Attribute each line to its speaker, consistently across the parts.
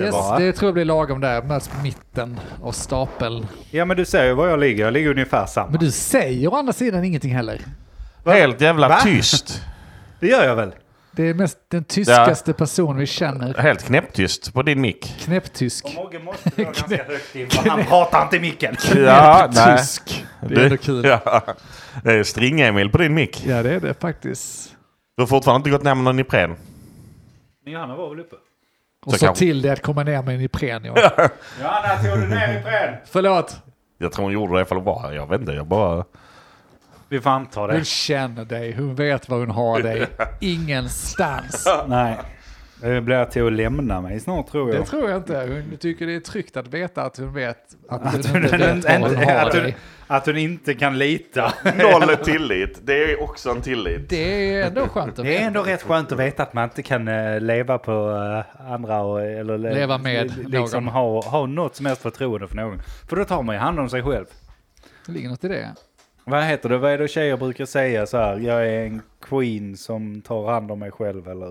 Speaker 1: Yes,
Speaker 2: var.
Speaker 1: det tror jag blir lagom där. Möts på mitten och stapel.
Speaker 2: Ja men du ser ju var jag ligger, jag ligger ungefär samma.
Speaker 1: Men du säger å andra sidan ingenting heller.
Speaker 2: Va?
Speaker 3: Helt jävla
Speaker 2: Va?
Speaker 3: tyst.
Speaker 2: Det gör jag väl?
Speaker 1: Det är mest den tyskaste person vi känner.
Speaker 3: Helt knäpptyst på din mick.
Speaker 1: Knäpptysk.
Speaker 2: Mogge måste vara ganska högt in, för han pratar inte i micken.
Speaker 3: Ja, nej.
Speaker 1: Tysk. Det är ändå kul.
Speaker 3: Ja. Det är string-Emil på din mick.
Speaker 1: Ja, det är det faktiskt.
Speaker 3: Du har fortfarande inte gått ner med någon Ipren.
Speaker 2: Johanna var väl uppe?
Speaker 1: Och
Speaker 3: Så
Speaker 1: så
Speaker 3: kanske-
Speaker 1: till det att komma ner med en Ipren. Ja.
Speaker 2: Johanna, tog du ner Ipren?
Speaker 1: Förlåt.
Speaker 3: Jag tror hon gjorde det för att vara här. Jag vet inte, jag bara...
Speaker 2: Vi får anta
Speaker 1: Hon
Speaker 2: det.
Speaker 1: känner dig. Hon vet var hon har dig. Ingenstans.
Speaker 2: Nej. Det blir till att lämna mig snart tror
Speaker 1: Det
Speaker 2: jag.
Speaker 1: tror jag inte. Hon tycker det är tryggt att veta att hon vet att,
Speaker 2: Att
Speaker 1: hon
Speaker 2: hon,
Speaker 1: inte vet var hon
Speaker 2: inte,
Speaker 1: har
Speaker 2: att, hon,
Speaker 1: dig.
Speaker 2: att hon inte kan lita.
Speaker 3: Noll tillit. Det är också en tillit.
Speaker 1: Det är ändå skönt att
Speaker 2: Det är
Speaker 1: veta.
Speaker 2: ändå rätt skönt att veta att man inte kan eh, leva på eh, andra och, eller le-
Speaker 1: Leva med
Speaker 2: li- liksom
Speaker 1: någon.
Speaker 2: ha, ha något som helst förtroende för någon. För då tar man ju hand om sig själv.
Speaker 1: Det ligger något i det.
Speaker 2: Vad heter det? Vad är det tjejer brukar säga så här? Jag är en queen som tar hand om mig själv eller?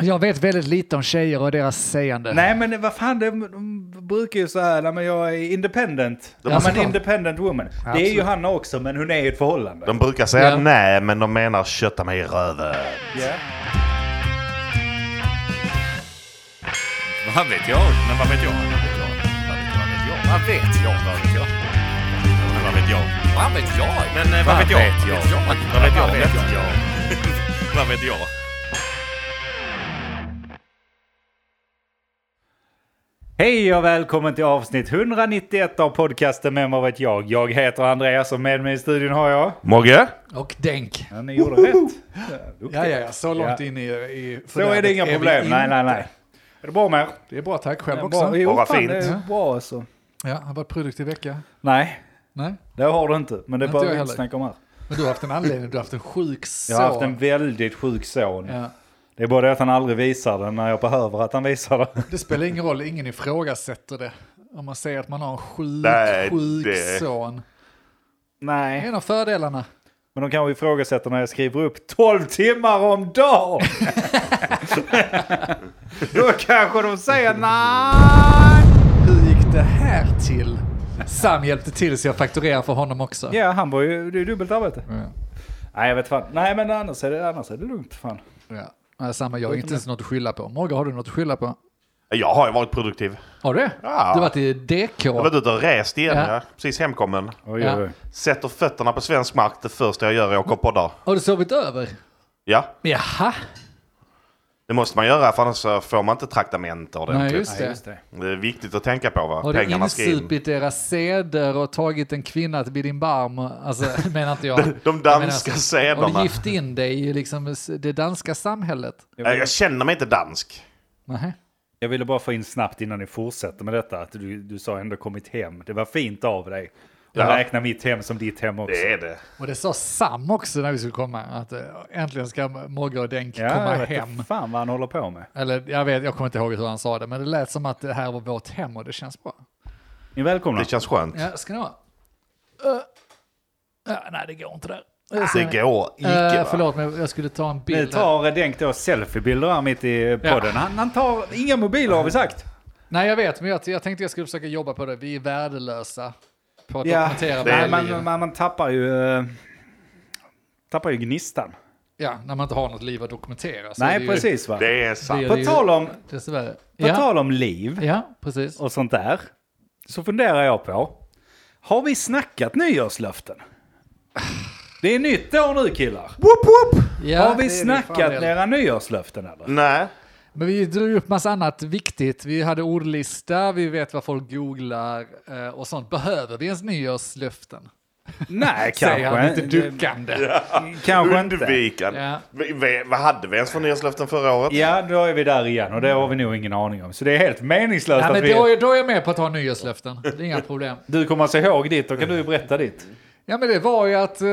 Speaker 1: Jag vet väldigt lite om tjejer och deras sägande.
Speaker 2: Nej men vad fan, de, de brukar ju så här, nej, men jag är independent. Ja,
Speaker 1: Ja,
Speaker 2: men
Speaker 1: såklart.
Speaker 2: independent woman. Det är
Speaker 1: Absolut.
Speaker 2: ju Hanna också men hon är i ett förhållande.
Speaker 3: De brukar säga
Speaker 1: Ja.
Speaker 3: nej, men de menar kötta mig i röven.
Speaker 2: Ja.
Speaker 3: Vad vet jag? Men vad vet jag? Vad vet jag? Vad vet jag? Vad vet jag? Men vad vet jag? Vad vet jag? Men eh, vad vet jag? Vad vet jag? Vad vet jag? Vad vet jag?
Speaker 2: Hej och välkommen till avsnitt 191 av podcasten Vem vad vet jag? Jag heter Andreas och med mig i studion har jag...
Speaker 3: Mogge?
Speaker 1: Och denk.
Speaker 2: Ja, ni gjorde rätt.
Speaker 1: Ja, ja, ja. Så långt
Speaker 2: Ja.
Speaker 1: in i... i
Speaker 2: Så är det inga problem. Nej, nej, nej. Är det bra med er?
Speaker 1: Det är bra, tack.
Speaker 2: Det
Speaker 1: Själv
Speaker 2: är
Speaker 1: också.
Speaker 2: bra. Jo,
Speaker 3: Bara
Speaker 2: fan,
Speaker 3: fint.
Speaker 2: Det är bra alltså.
Speaker 1: Ja, det har varit produktiv vecka.
Speaker 2: Nej,
Speaker 1: Nej,
Speaker 2: det har du inte. Men det
Speaker 1: Inte
Speaker 2: behöver
Speaker 1: jag
Speaker 2: vi inte
Speaker 1: heller.
Speaker 2: snacka om här.
Speaker 1: men du har haft en anledning. Du har haft en sjuk son.
Speaker 2: Jag har haft en väldigt sjuk son.
Speaker 1: Ja.
Speaker 2: Det är bara det att han aldrig visar den när jag behöver att han visar den.
Speaker 1: Det spelar ingen roll, ingen ifrågasätter det. Om man säger att man har en sjuk,
Speaker 3: Nej,
Speaker 1: sjuk
Speaker 3: det-
Speaker 1: son. Det är
Speaker 2: Nej.
Speaker 1: en av fördelarna.
Speaker 2: Men de kanske ifrågasätter när jag skriver upp 12 timmar om dagen. Då kanske de säger nej.
Speaker 1: Hur gick det här till? Sam hjälpte till så jag fakturerar för honom också.
Speaker 2: Ja, han var ju, det är ju dubbelt arbete.
Speaker 1: Ja.
Speaker 2: Nej, jag vet fan. Nej, men annars är det, annars är det lugnt. Fan.
Speaker 1: Ja. Nej, Samma, jag har inte ens något att skylla på. Morgan, har du något att skylla på?
Speaker 3: Jag har ju varit produktiv.
Speaker 1: Har du det?
Speaker 3: Ja.
Speaker 1: Du har varit i DK.
Speaker 3: Jag har varit ute och rest igen.
Speaker 1: Ja.
Speaker 3: Ja. Precis hemkommen.
Speaker 2: Oj,
Speaker 1: Ja.
Speaker 2: oj, oj.
Speaker 3: Sätter fötterna på svensk mark. Det första jag gör är att åka och podda.
Speaker 1: Har du sovit över?
Speaker 3: Ja,
Speaker 1: Jaha.
Speaker 3: det måste man göra för annars så får man inte traktamente
Speaker 1: Nej,
Speaker 3: ordentligt.
Speaker 1: just
Speaker 2: Nej,
Speaker 1: det.
Speaker 2: just det.
Speaker 3: Det är viktigt att tänka på
Speaker 1: Har
Speaker 3: vad
Speaker 1: du
Speaker 3: pengarna ska in.
Speaker 1: insupit deras seder och tagit en kvinna vid din barm? Alltså, menar inte jag.
Speaker 3: De- de
Speaker 1: Jag menar
Speaker 3: danska
Speaker 1: alltså, Har
Speaker 3: sederna.
Speaker 1: du gift in dig i liksom det danska samhället?
Speaker 2: Jag
Speaker 3: Nej,
Speaker 2: ville,
Speaker 3: Eh, Jag känner mig inte dansk.
Speaker 1: Nej.
Speaker 2: jag ville bara få in snabbt innan ni fortsätter med detta att du, du sa ändå kommit hem. Det var fint av dig. Jag
Speaker 3: Ja.
Speaker 2: räknar mitt hem som ditt hem också.
Speaker 3: Det är det.
Speaker 1: Och det sa Sam också när vi skulle komma, att eh, äntligen ska Mogge och Denk
Speaker 2: Ja,
Speaker 1: komma
Speaker 2: jag vet
Speaker 1: hem.
Speaker 2: inte fan vad han håller på med.
Speaker 1: Eller jag vet, jag kommer inte ihåg hur han sa det, men det lät som att det här var vårt hem och det känns bra.
Speaker 2: Ni är välkomna.
Speaker 3: Det känns skönt.
Speaker 1: Ja, ska ni ha? Eh, eh, nej, det går inte där. Eh, ser ni.
Speaker 3: Det går
Speaker 1: Eh,
Speaker 3: icke va?
Speaker 1: förlåt, men jag skulle ta en
Speaker 2: Nu
Speaker 1: bild. här.
Speaker 2: tar Denk då selfiebilder här mitt i podden. Han, han tar inga mobiler har vi sagt.
Speaker 1: Nej, jag vet, men jag, jag tänkte jag skulle försöka jobba på det. Vi är värdelösa på att dokumentera
Speaker 3: det är
Speaker 1: våra
Speaker 2: Nej,
Speaker 1: liv.
Speaker 2: man, man, man tappar ju... eh, Tappar ju gnistan.
Speaker 1: Ja, när man inte har något liv att dokumentera. Så är det
Speaker 2: Nej,
Speaker 1: ju-
Speaker 2: precis va.
Speaker 3: Det är
Speaker 1: det
Speaker 3: sant.
Speaker 1: är
Speaker 2: På
Speaker 1: ju-
Speaker 2: tal om, på
Speaker 1: Dessvärre. Ja,
Speaker 2: tal om liv
Speaker 1: ja, precis.
Speaker 2: och sånt där. Så funderar jag på. Har vi snackat nyårslöften? Det är nytt år nu killar.
Speaker 1: Ja,
Speaker 2: har
Speaker 1: det är
Speaker 2: vi
Speaker 1: det
Speaker 2: snackat
Speaker 1: fan det.
Speaker 2: era nyårslöften eller?
Speaker 3: Nej.
Speaker 1: Men vi drog upp massa annat viktigt. Vi hade ordlista, vi vet vad folk googlar eh, och sånt. Behöver vi ens nyårslöften?
Speaker 2: Nej,
Speaker 1: Säger han
Speaker 2: kanske
Speaker 1: lite duckande.
Speaker 2: Kanske inte.
Speaker 3: Undvikande.
Speaker 1: Ja.
Speaker 3: Vi- vi- Vad hade vi ens för nyårslöften förra året?
Speaker 2: Ja, då är vi där igen och det har vi nog ingen aning om. Så det är helt meningslöst
Speaker 1: Ja,
Speaker 2: att
Speaker 1: men
Speaker 2: vi...
Speaker 1: då, är- då är jag med på att ha nyårslöften. Det är inga problem.
Speaker 2: Du kommer alltså ihåg ditt, då kan du ju berätta ditt.
Speaker 1: Ja, men det var ju att eh,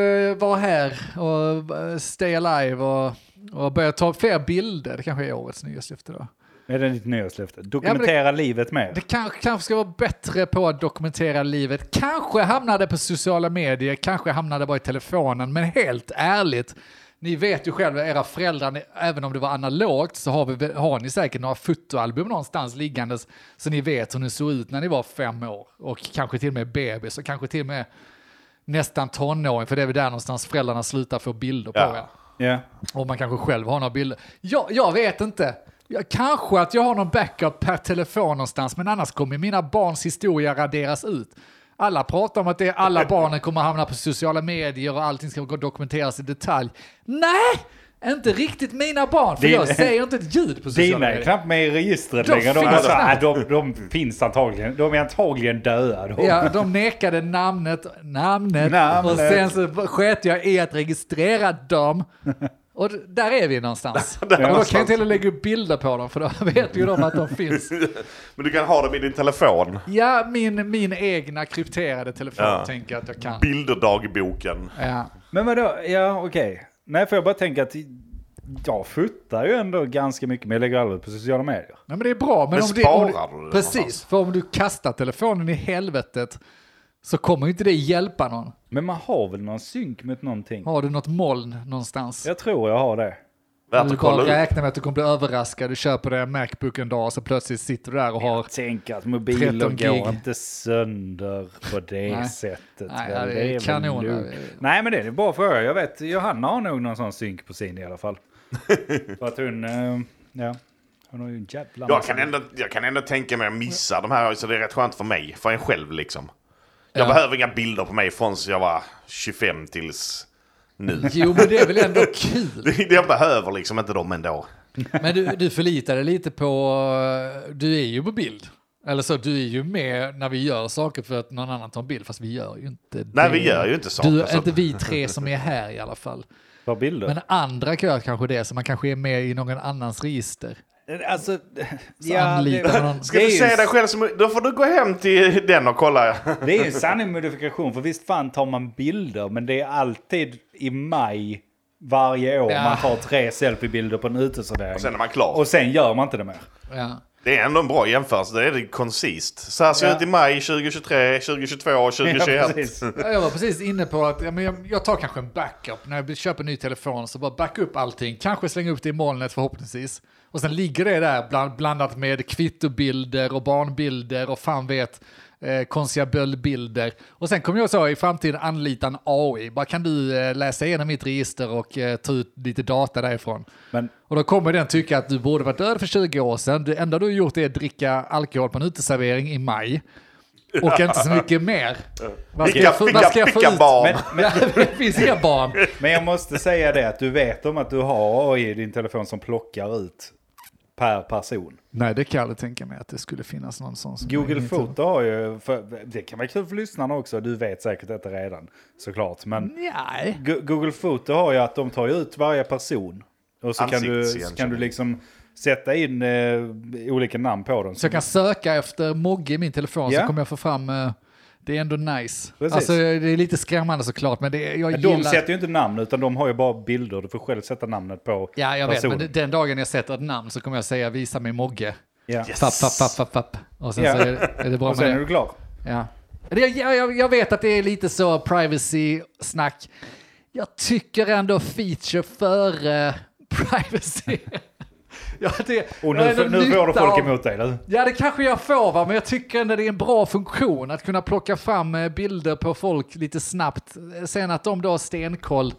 Speaker 1: vara här och eh, stay alive och, och börja ta fler bilder. Det kanske är årets nyårslöfte då.
Speaker 2: Är det ditt nyårslöfte? Dokumentera livet mer.
Speaker 1: Det kanske, kanske ska vara bättre på att dokumentera livet. Kanske hamnade på sociala medier, kanske hamnade bara i telefonen. Men helt ärligt, Ni vet ju själva, era föräldrar, ni, även om det var analogt, så har, vi, har ni säkert några fotoalbum någonstans liggandes, så ni vet hur ni såg ut när ni var fem år, och kanske till och med bebis, och kanske till och med nästan tonåring, för det är väl där någonstans föräldrarna slutar få bilder på
Speaker 3: Ja.
Speaker 1: er.
Speaker 2: Ja.
Speaker 1: Och man kanske själv har några bilder. Jag, jag vet inte. Jag, kanske att jag har någon backup per telefon någonstans, men annars kommer mina barns historia raderas ut. Alla pratar om att det är alla barnen kommer hamna på sociala medier och allting ska gå- dokumenteras i detalj. Nej! Inte riktigt mina barn, för
Speaker 2: Din-
Speaker 1: jag säger inte ett ljud på sociala
Speaker 2: Dina är
Speaker 1: medier.
Speaker 2: knappt med i registret
Speaker 1: De
Speaker 2: längre. De,
Speaker 1: finns
Speaker 2: alltså,
Speaker 1: knappt.
Speaker 2: äh, de, de finns antagligen. De är antagligen döda. De.
Speaker 1: Ja, de nekade namnet, namnet,
Speaker 2: Namnet.
Speaker 1: och sen så sket jag i att registrera dem. Och d- där är vi någonstans. Och då kan jag
Speaker 2: någonstans.
Speaker 1: till och med lägga upp bilder på dem, för då vet ju de att de finns.
Speaker 3: Men du kan ha dem i din telefon.
Speaker 1: Ja, min, min egna krypterade telefon
Speaker 3: Ja.
Speaker 1: tänker jag att jag kan.
Speaker 3: Bilderdagboken.
Speaker 1: Ja.
Speaker 2: Men vadå? Ja, okej. Nej, för jag bara tänker att jag futtar ju ändå ganska mycket, men jag lägger aldrig på sociala medier.
Speaker 1: Nej, men det är bra. Men,
Speaker 3: Men
Speaker 1: om det, om
Speaker 3: sparar du det
Speaker 1: Precis,
Speaker 3: någonstans?
Speaker 1: för om du kastar telefonen i helvetet så kommer ju inte det hjälpa någon.
Speaker 2: Men man har väl någon synk mot någonting?
Speaker 1: Har du något moln någonstans?
Speaker 2: Jag tror jag har det.
Speaker 3: Värt
Speaker 1: du
Speaker 3: att kolla
Speaker 1: kommer
Speaker 3: upp.
Speaker 1: räkna med att du kommer bli överraskad. Du köper dig en Macbook en dag och så plötsligt sitter du där och har...
Speaker 2: Tänk att mobiler
Speaker 1: 13 gig.
Speaker 2: går inte sönder på det
Speaker 1: Nej.
Speaker 2: sättet.
Speaker 1: Nej,
Speaker 2: väl?
Speaker 1: ja, det är
Speaker 2: väl
Speaker 1: kanon.
Speaker 2: lugnt. Nej, men det är en bra fråga. Jag vet, Johanna har nog någon sån synk på sin i alla fall. För att hon, eh, ja, hon har ju en jävla
Speaker 3: Jag
Speaker 2: massa-
Speaker 3: kan, ändå, jag kan ändå tänka mig att missa de här, så det är rätt skönt för mig. För en själv liksom. Jag behöver inga bilder på mig från så jag var 25 tills nu.
Speaker 1: Jo, men det är väl ändå kul.
Speaker 3: jag behöver liksom inte dem ändå.
Speaker 1: Men du, du förlitar dig lite på, du är ju på bild. Eller så, du är ju med när vi gör saker för att någon annan tar en bild, fast vi gör ju inte det.
Speaker 3: Nej, vi gör ju inte saker,
Speaker 1: Du,
Speaker 3: så-
Speaker 1: Inte vi tre som är här i alla fall.
Speaker 2: Ta bilder.
Speaker 1: Men andra gör kanske det, så man kanske är med i någon annans register.
Speaker 2: alltså,
Speaker 1: anlitar man någon.
Speaker 3: Ska
Speaker 2: det är
Speaker 3: du
Speaker 2: ju
Speaker 3: se dig själv som... Då får du gå hem till den och kolla.
Speaker 2: Det är ju en sanning modifikation, för visst fan tar man bilder, men det är alltid i maj varje år
Speaker 1: Ja.
Speaker 2: man tar tre selfiebilder på en uteservering.
Speaker 3: Sen är man klar.
Speaker 2: Och sen gör man inte det mer.
Speaker 1: Ja.
Speaker 3: Det är ändå en bra jämförelse. Det är det koncist. Så här ser det
Speaker 2: Ja.
Speaker 3: ut i maj 2023, 2022,
Speaker 2: Ja,
Speaker 3: 2021.
Speaker 2: precis.
Speaker 1: Ja, Jag var precis inne på att ja, men jag, jag tar kanske en backup. När jag köper en ny telefon så bara backa upp allting. Kanske slänga upp det i molnet förhoppningsvis. Och sen ligger det där bland, blandat med kvittobilder och barnbilder och fan vet eh, konstiga böldbilder. Och sen kommer jag så i framtiden anlita en AI. Bara kan du eh, läsa igenom mitt register och eh, ta ut lite data därifrån.
Speaker 2: Men
Speaker 1: Och då kommer den tycka att du borde varit död för 20 år sedan. Det enda du har gjort är att dricka alkohol på en uteservering i maj. Och inte så mycket mer. Vad ska
Speaker 3: Vilka,
Speaker 1: jag få- vad
Speaker 3: vilka,
Speaker 1: ska jag få
Speaker 3: vilka
Speaker 1: ut?
Speaker 3: barn.
Speaker 2: Men-
Speaker 1: Ja, det finns inga barn.
Speaker 2: Men jag måste säga det att du vet om att du har AI i din telefon som plockar ut per person.
Speaker 1: Nej, det kan jag aldrig tänka mig att det skulle finnas någon sån. Som
Speaker 2: Google Foto har ju, för, det kan vara kul för lyssnarna också, du vet säkert detta redan såklart. Men
Speaker 1: Nej.
Speaker 2: Go- Google Foto har ju att de tar ju ut varje person. Och så kan du, så
Speaker 3: Ansiktsigenkänning.
Speaker 2: kan du liksom sätta in eh, olika namn på dem.
Speaker 1: Så jag kan söka efter Mogge i min telefon så
Speaker 2: Ja.
Speaker 1: kommer jag få fram... eh, det är ändå nice.
Speaker 2: Precis.
Speaker 1: Alltså, det är lite skrämmande såklart, men det, jag
Speaker 2: Men
Speaker 1: gillar...
Speaker 2: De sätter ju inte namn utan de har ju bara bilder. Du får själv sätta namnet på
Speaker 1: Ja, jag vet,
Speaker 2: personen.
Speaker 1: men den dagen jag sätter ett namn så kommer jag säga visa mig Mogge.
Speaker 2: Ja.
Speaker 3: Yes.
Speaker 1: Fapp, fapp, fapp, fapp, fapp. Och sen
Speaker 2: Ja.
Speaker 1: så är det, är det bra
Speaker 2: Och
Speaker 1: med
Speaker 2: sen
Speaker 1: det.
Speaker 2: är du klar.
Speaker 1: Ja. Det, jag, jag, jag vet att det är lite så privacy-snack. Jag tycker ändå feature före privacy. ja, det,
Speaker 2: Och
Speaker 1: jag har
Speaker 2: nu,
Speaker 1: ändå
Speaker 2: får- nu får du
Speaker 1: nytta
Speaker 2: folk
Speaker 1: av-
Speaker 2: emot dig. Eller?
Speaker 1: Ja, det kanske jag får, va? men jag tycker ändå det är en bra funktion att kunna plocka fram eh, bilder på folk lite snabbt. Sen att de då har stenkoll.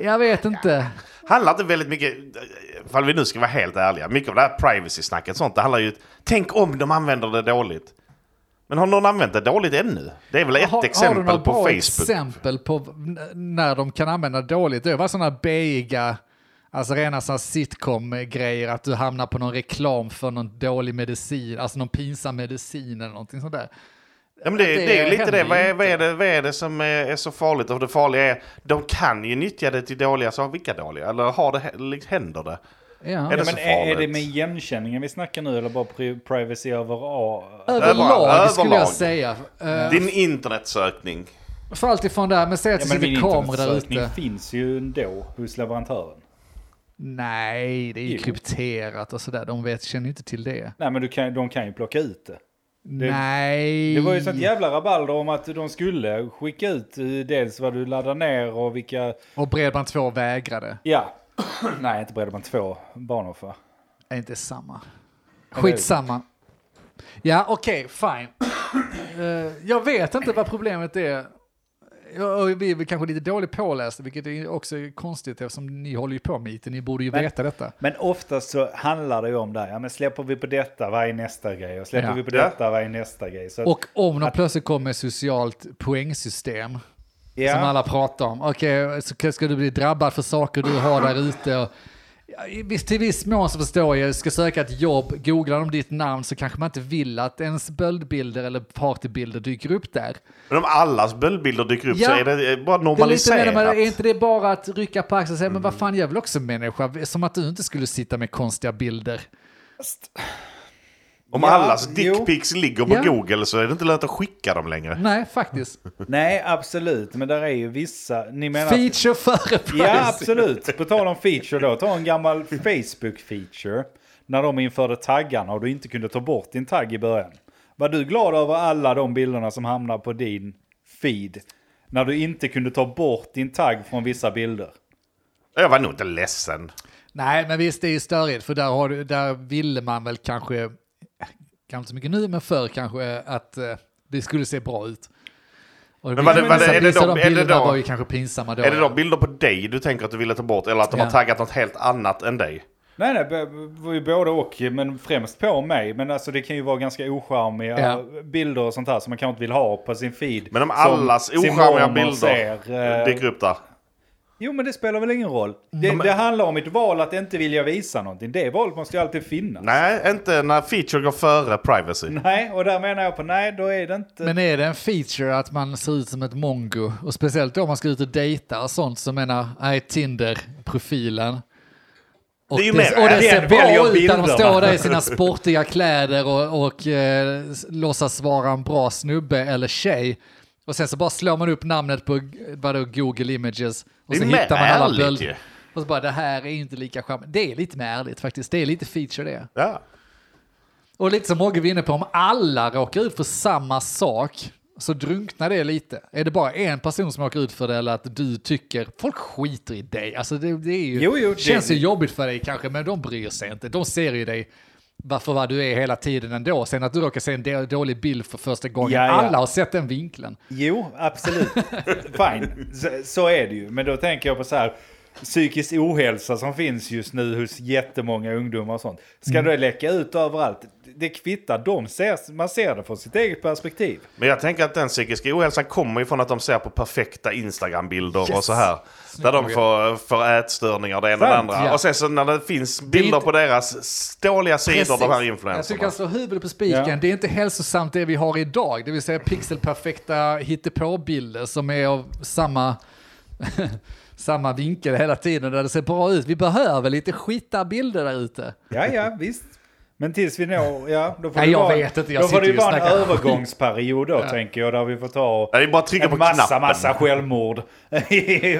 Speaker 1: Jag vet inte.
Speaker 3: handlar inte väldigt mycket, ifall vi nu ska vara helt ärliga, mycket av det här privacy-snacket sånt, det handlar ju tänk om de använder det dåligt. Men har någon använt det dåligt ännu? Det är väl ett
Speaker 1: har,
Speaker 3: exempel
Speaker 1: har du några
Speaker 3: på
Speaker 1: bra
Speaker 3: Facebook.
Speaker 1: exempel på v- n- när de kan använda dåligt? Det var sådana beiga, alltså rena såna sitcom-grejer, att du hamnar på någon reklam för någon dålig medicin, alltså någon pinsam medicin eller någonting sånt där.
Speaker 3: Ja, men det,
Speaker 1: Det
Speaker 3: det, är ju lite
Speaker 1: händer
Speaker 3: det. Vad
Speaker 1: ju
Speaker 3: är,
Speaker 1: inte.
Speaker 3: vad, är det vad är det som är, är så farligt? Och det farliga är, de kan ju nyttja det till dåliga saker. Vilka dåliga? Eller har det, eller händer det?
Speaker 1: Ja.
Speaker 3: Är det
Speaker 2: Men
Speaker 3: så
Speaker 2: är, är det
Speaker 3: farligt?
Speaker 2: med igenkänningen vi snackar nu eller bara pri- privacy över A?
Speaker 1: Överlag,
Speaker 3: Överlag.
Speaker 1: skulle jag
Speaker 3: Överlag.
Speaker 1: säga. Eh,
Speaker 3: Din internetsökning.
Speaker 1: För allt ifrån där, men säg att
Speaker 2: Ja,
Speaker 1: det
Speaker 2: men
Speaker 1: sitter
Speaker 2: min
Speaker 1: kameror där
Speaker 2: internetsökning
Speaker 1: ute.
Speaker 2: finns ju ändå hos leverantören.
Speaker 1: Nej, det är ju
Speaker 2: Jo.
Speaker 1: krypterat och sådär. De vet, känner ju inte till det.
Speaker 2: Nej men du kan, de kan ju plocka ut det.
Speaker 1: Nej.
Speaker 2: Det var ju sånt jävla rabalder om att de skulle skicka ut eh, dels vad du laddar ner och vilka...
Speaker 1: Och Bredband2 vägrade.
Speaker 2: Ja. Nej, inte Bredband 2 banor för.
Speaker 1: Är inte samma.
Speaker 2: Eller hur?
Speaker 1: Skitsamma. Ja, okej, fine. Eh, jag vet inte vad problemet är. Jag- och Vi är väl kanske lite dåligt pålästa, vilket är också konstigt eftersom ni håller ju på med IT. Ni borde ju
Speaker 2: Men-
Speaker 1: veta detta.
Speaker 2: Men oftast så handlar det ju om det här. Ja, men släpper vi på detta, vad är nästa grej? Och släpper
Speaker 1: Ja.
Speaker 2: vi på detta, vad är nästa grej? Så att-
Speaker 1: Och om de plötsligt kommer med socialt poängsystem,
Speaker 2: ja.
Speaker 1: som alla pratar om. Okej, så ska du bli drabbad för saker du har där ute. Och, ja, i viss- till viss mån så förstår jag, ska söka ett jobb, googlar de ditt namn så kanske man inte vill att ens böldbilder eller partybilder dyker upp där.
Speaker 3: Men om allas böldbilder dyker upp
Speaker 1: Ja.
Speaker 3: så är det eh, bara
Speaker 1: Det är, lite
Speaker 3: normaliserat.
Speaker 1: mer, men är inte det bara att rycka på axeln och säga, men
Speaker 2: Mm.
Speaker 1: vad fan, jag är väl också människa, som att du inte skulle sitta med konstiga bilder.
Speaker 3: Om
Speaker 2: Ja,
Speaker 3: allas
Speaker 2: jo.
Speaker 3: dickpics ligger på
Speaker 1: Ja.
Speaker 3: Google så är det inte lönt att skicka dem längre.
Speaker 1: Nej, faktiskt.
Speaker 2: Nej, absolut. Men där är ju vissa... Ni menar... att-
Speaker 1: Feature före pris.
Speaker 2: Ja, absolut. På tal om feature då. Ta en gammal Facebook-feature. När de införde taggarna och du inte kunde ta bort din tagg i början. Var du glad över alla de bilderna som hamnar på din feed? När du inte kunde ta bort din tagg från vissa bilder.
Speaker 3: Jag var nog inte ledsen.
Speaker 1: Nej, men visst, det är ju störigt, för där, har du, där ville man väl kanske, kanske inte så mycket nu, men förr kanske, att eh, det skulle se bra ut. Och
Speaker 3: Men vad
Speaker 1: vissa-
Speaker 3: det- vad det- är det
Speaker 1: vissa
Speaker 3: då-
Speaker 1: av de
Speaker 3: är det
Speaker 1: bilderna
Speaker 3: då-
Speaker 1: var ju kanske pinsamma då.
Speaker 3: Är det då bilder på dig du tänker att du ville ta bort eller att de
Speaker 1: Ja.
Speaker 3: har taggat något helt annat än dig?
Speaker 2: Nej, nej, det var ju både och, men främst på mig. Men alltså det kan ju vara ganska ocharmiga
Speaker 1: Ja.
Speaker 2: bilder och sånt här som man kanske inte vill ha på sin feed.
Speaker 3: Men om
Speaker 2: Som
Speaker 3: allas
Speaker 2: sin
Speaker 3: ocharmiga
Speaker 2: mormor
Speaker 3: bilder
Speaker 2: ser, eh,
Speaker 3: dyker upp där.
Speaker 2: Jo, men det spelar väl ingen roll.
Speaker 1: Mm.
Speaker 2: Det, det handlar om ett val att inte vilja visa någonting. Det valet måste ju alltid finnas.
Speaker 3: Nej, inte när feature går före privacy.
Speaker 2: Nej, och där menar jag på nej, då är det
Speaker 3: eh,
Speaker 2: inte...
Speaker 1: Men är det en feature att man ser ut som ett mongo? Och speciellt då om man ska ut och dejta och sånt, så menar, nej, Tinder-profilen. Och
Speaker 3: Det är ju mer-
Speaker 1: och det
Speaker 2: den
Speaker 1: ser
Speaker 2: väljer
Speaker 1: bra ut när de
Speaker 2: bilderna.
Speaker 1: står där i sina sportiga kläder och, och eh, s- låtsas vara en bra snubbe eller tjej. Och sen så bara slår man upp namnet på vadå, Google Images och
Speaker 3: Det är
Speaker 1: så
Speaker 3: mer
Speaker 1: hittar man alla
Speaker 3: ärligt ju.
Speaker 1: bilder. Och så bara, det här är ju inte lika charmigt. Det är lite mer ärligt faktiskt. Det är lite feature det.
Speaker 3: Ja.
Speaker 1: Och lite som Mogge var inne på, om alla råkar ut för samma sak så drunknar det lite. Är det bara en person som åker ut för det eller att du tycker folk skiter i dig? Alltså det, det är ju,
Speaker 2: Jo, jo, det-
Speaker 1: känns ju jobbigt för dig kanske, men de bryr sig inte. De ser ju dig varför vad du är hela tiden ändå. Sen att du råkar se en då- dålig bild för första gången.
Speaker 2: Ja, ja.
Speaker 1: Alla har sett den vinkeln.
Speaker 2: Jo, absolut. Fine, så, så är det ju. Men då tänker jag på så här, psykisk ohälsa som finns just nu hos jättemånga ungdomar och sånt.
Speaker 1: Mm.
Speaker 2: Ska det läcka ut överallt? Det kvittar, de ser, man ser det från sitt eget perspektiv.
Speaker 3: Men jag tänker att den psykiska ohälsan kommer ifrån att de ser på perfekta Instagram-bilder och så här. Där de får, får ätstörningar det ena och det
Speaker 2: Sant,
Speaker 3: andra.
Speaker 1: ja.
Speaker 3: Och sen så när det finns bilder
Speaker 1: inte-
Speaker 3: på deras s- dåliga sidor, de här
Speaker 1: Jag
Speaker 3: influencerna.
Speaker 1: tycker han slår huvudet på spiken.
Speaker 2: Ja.
Speaker 1: Det är inte hälsosamt det vi har idag, det vill säga pixelperfekta hittepåbilder som är av samma, samma vinkel hela tiden där det ser bra ut. Vi behöver lite skita bilder där ute.
Speaker 2: Ja, ja, visst. Men tills vi når, ja, då får
Speaker 1: Nej,
Speaker 2: det
Speaker 1: jag
Speaker 2: vara,
Speaker 1: vet inte, jag
Speaker 2: då får
Speaker 1: sitter
Speaker 2: det ju
Speaker 1: ju och
Speaker 2: vara en
Speaker 1: snackar.
Speaker 2: övergångsperiod då, tänker jag, där vi får ta och...
Speaker 3: Ja, Det är bara att trycka på
Speaker 2: en massa,
Speaker 3: knappen.
Speaker 2: massa självmord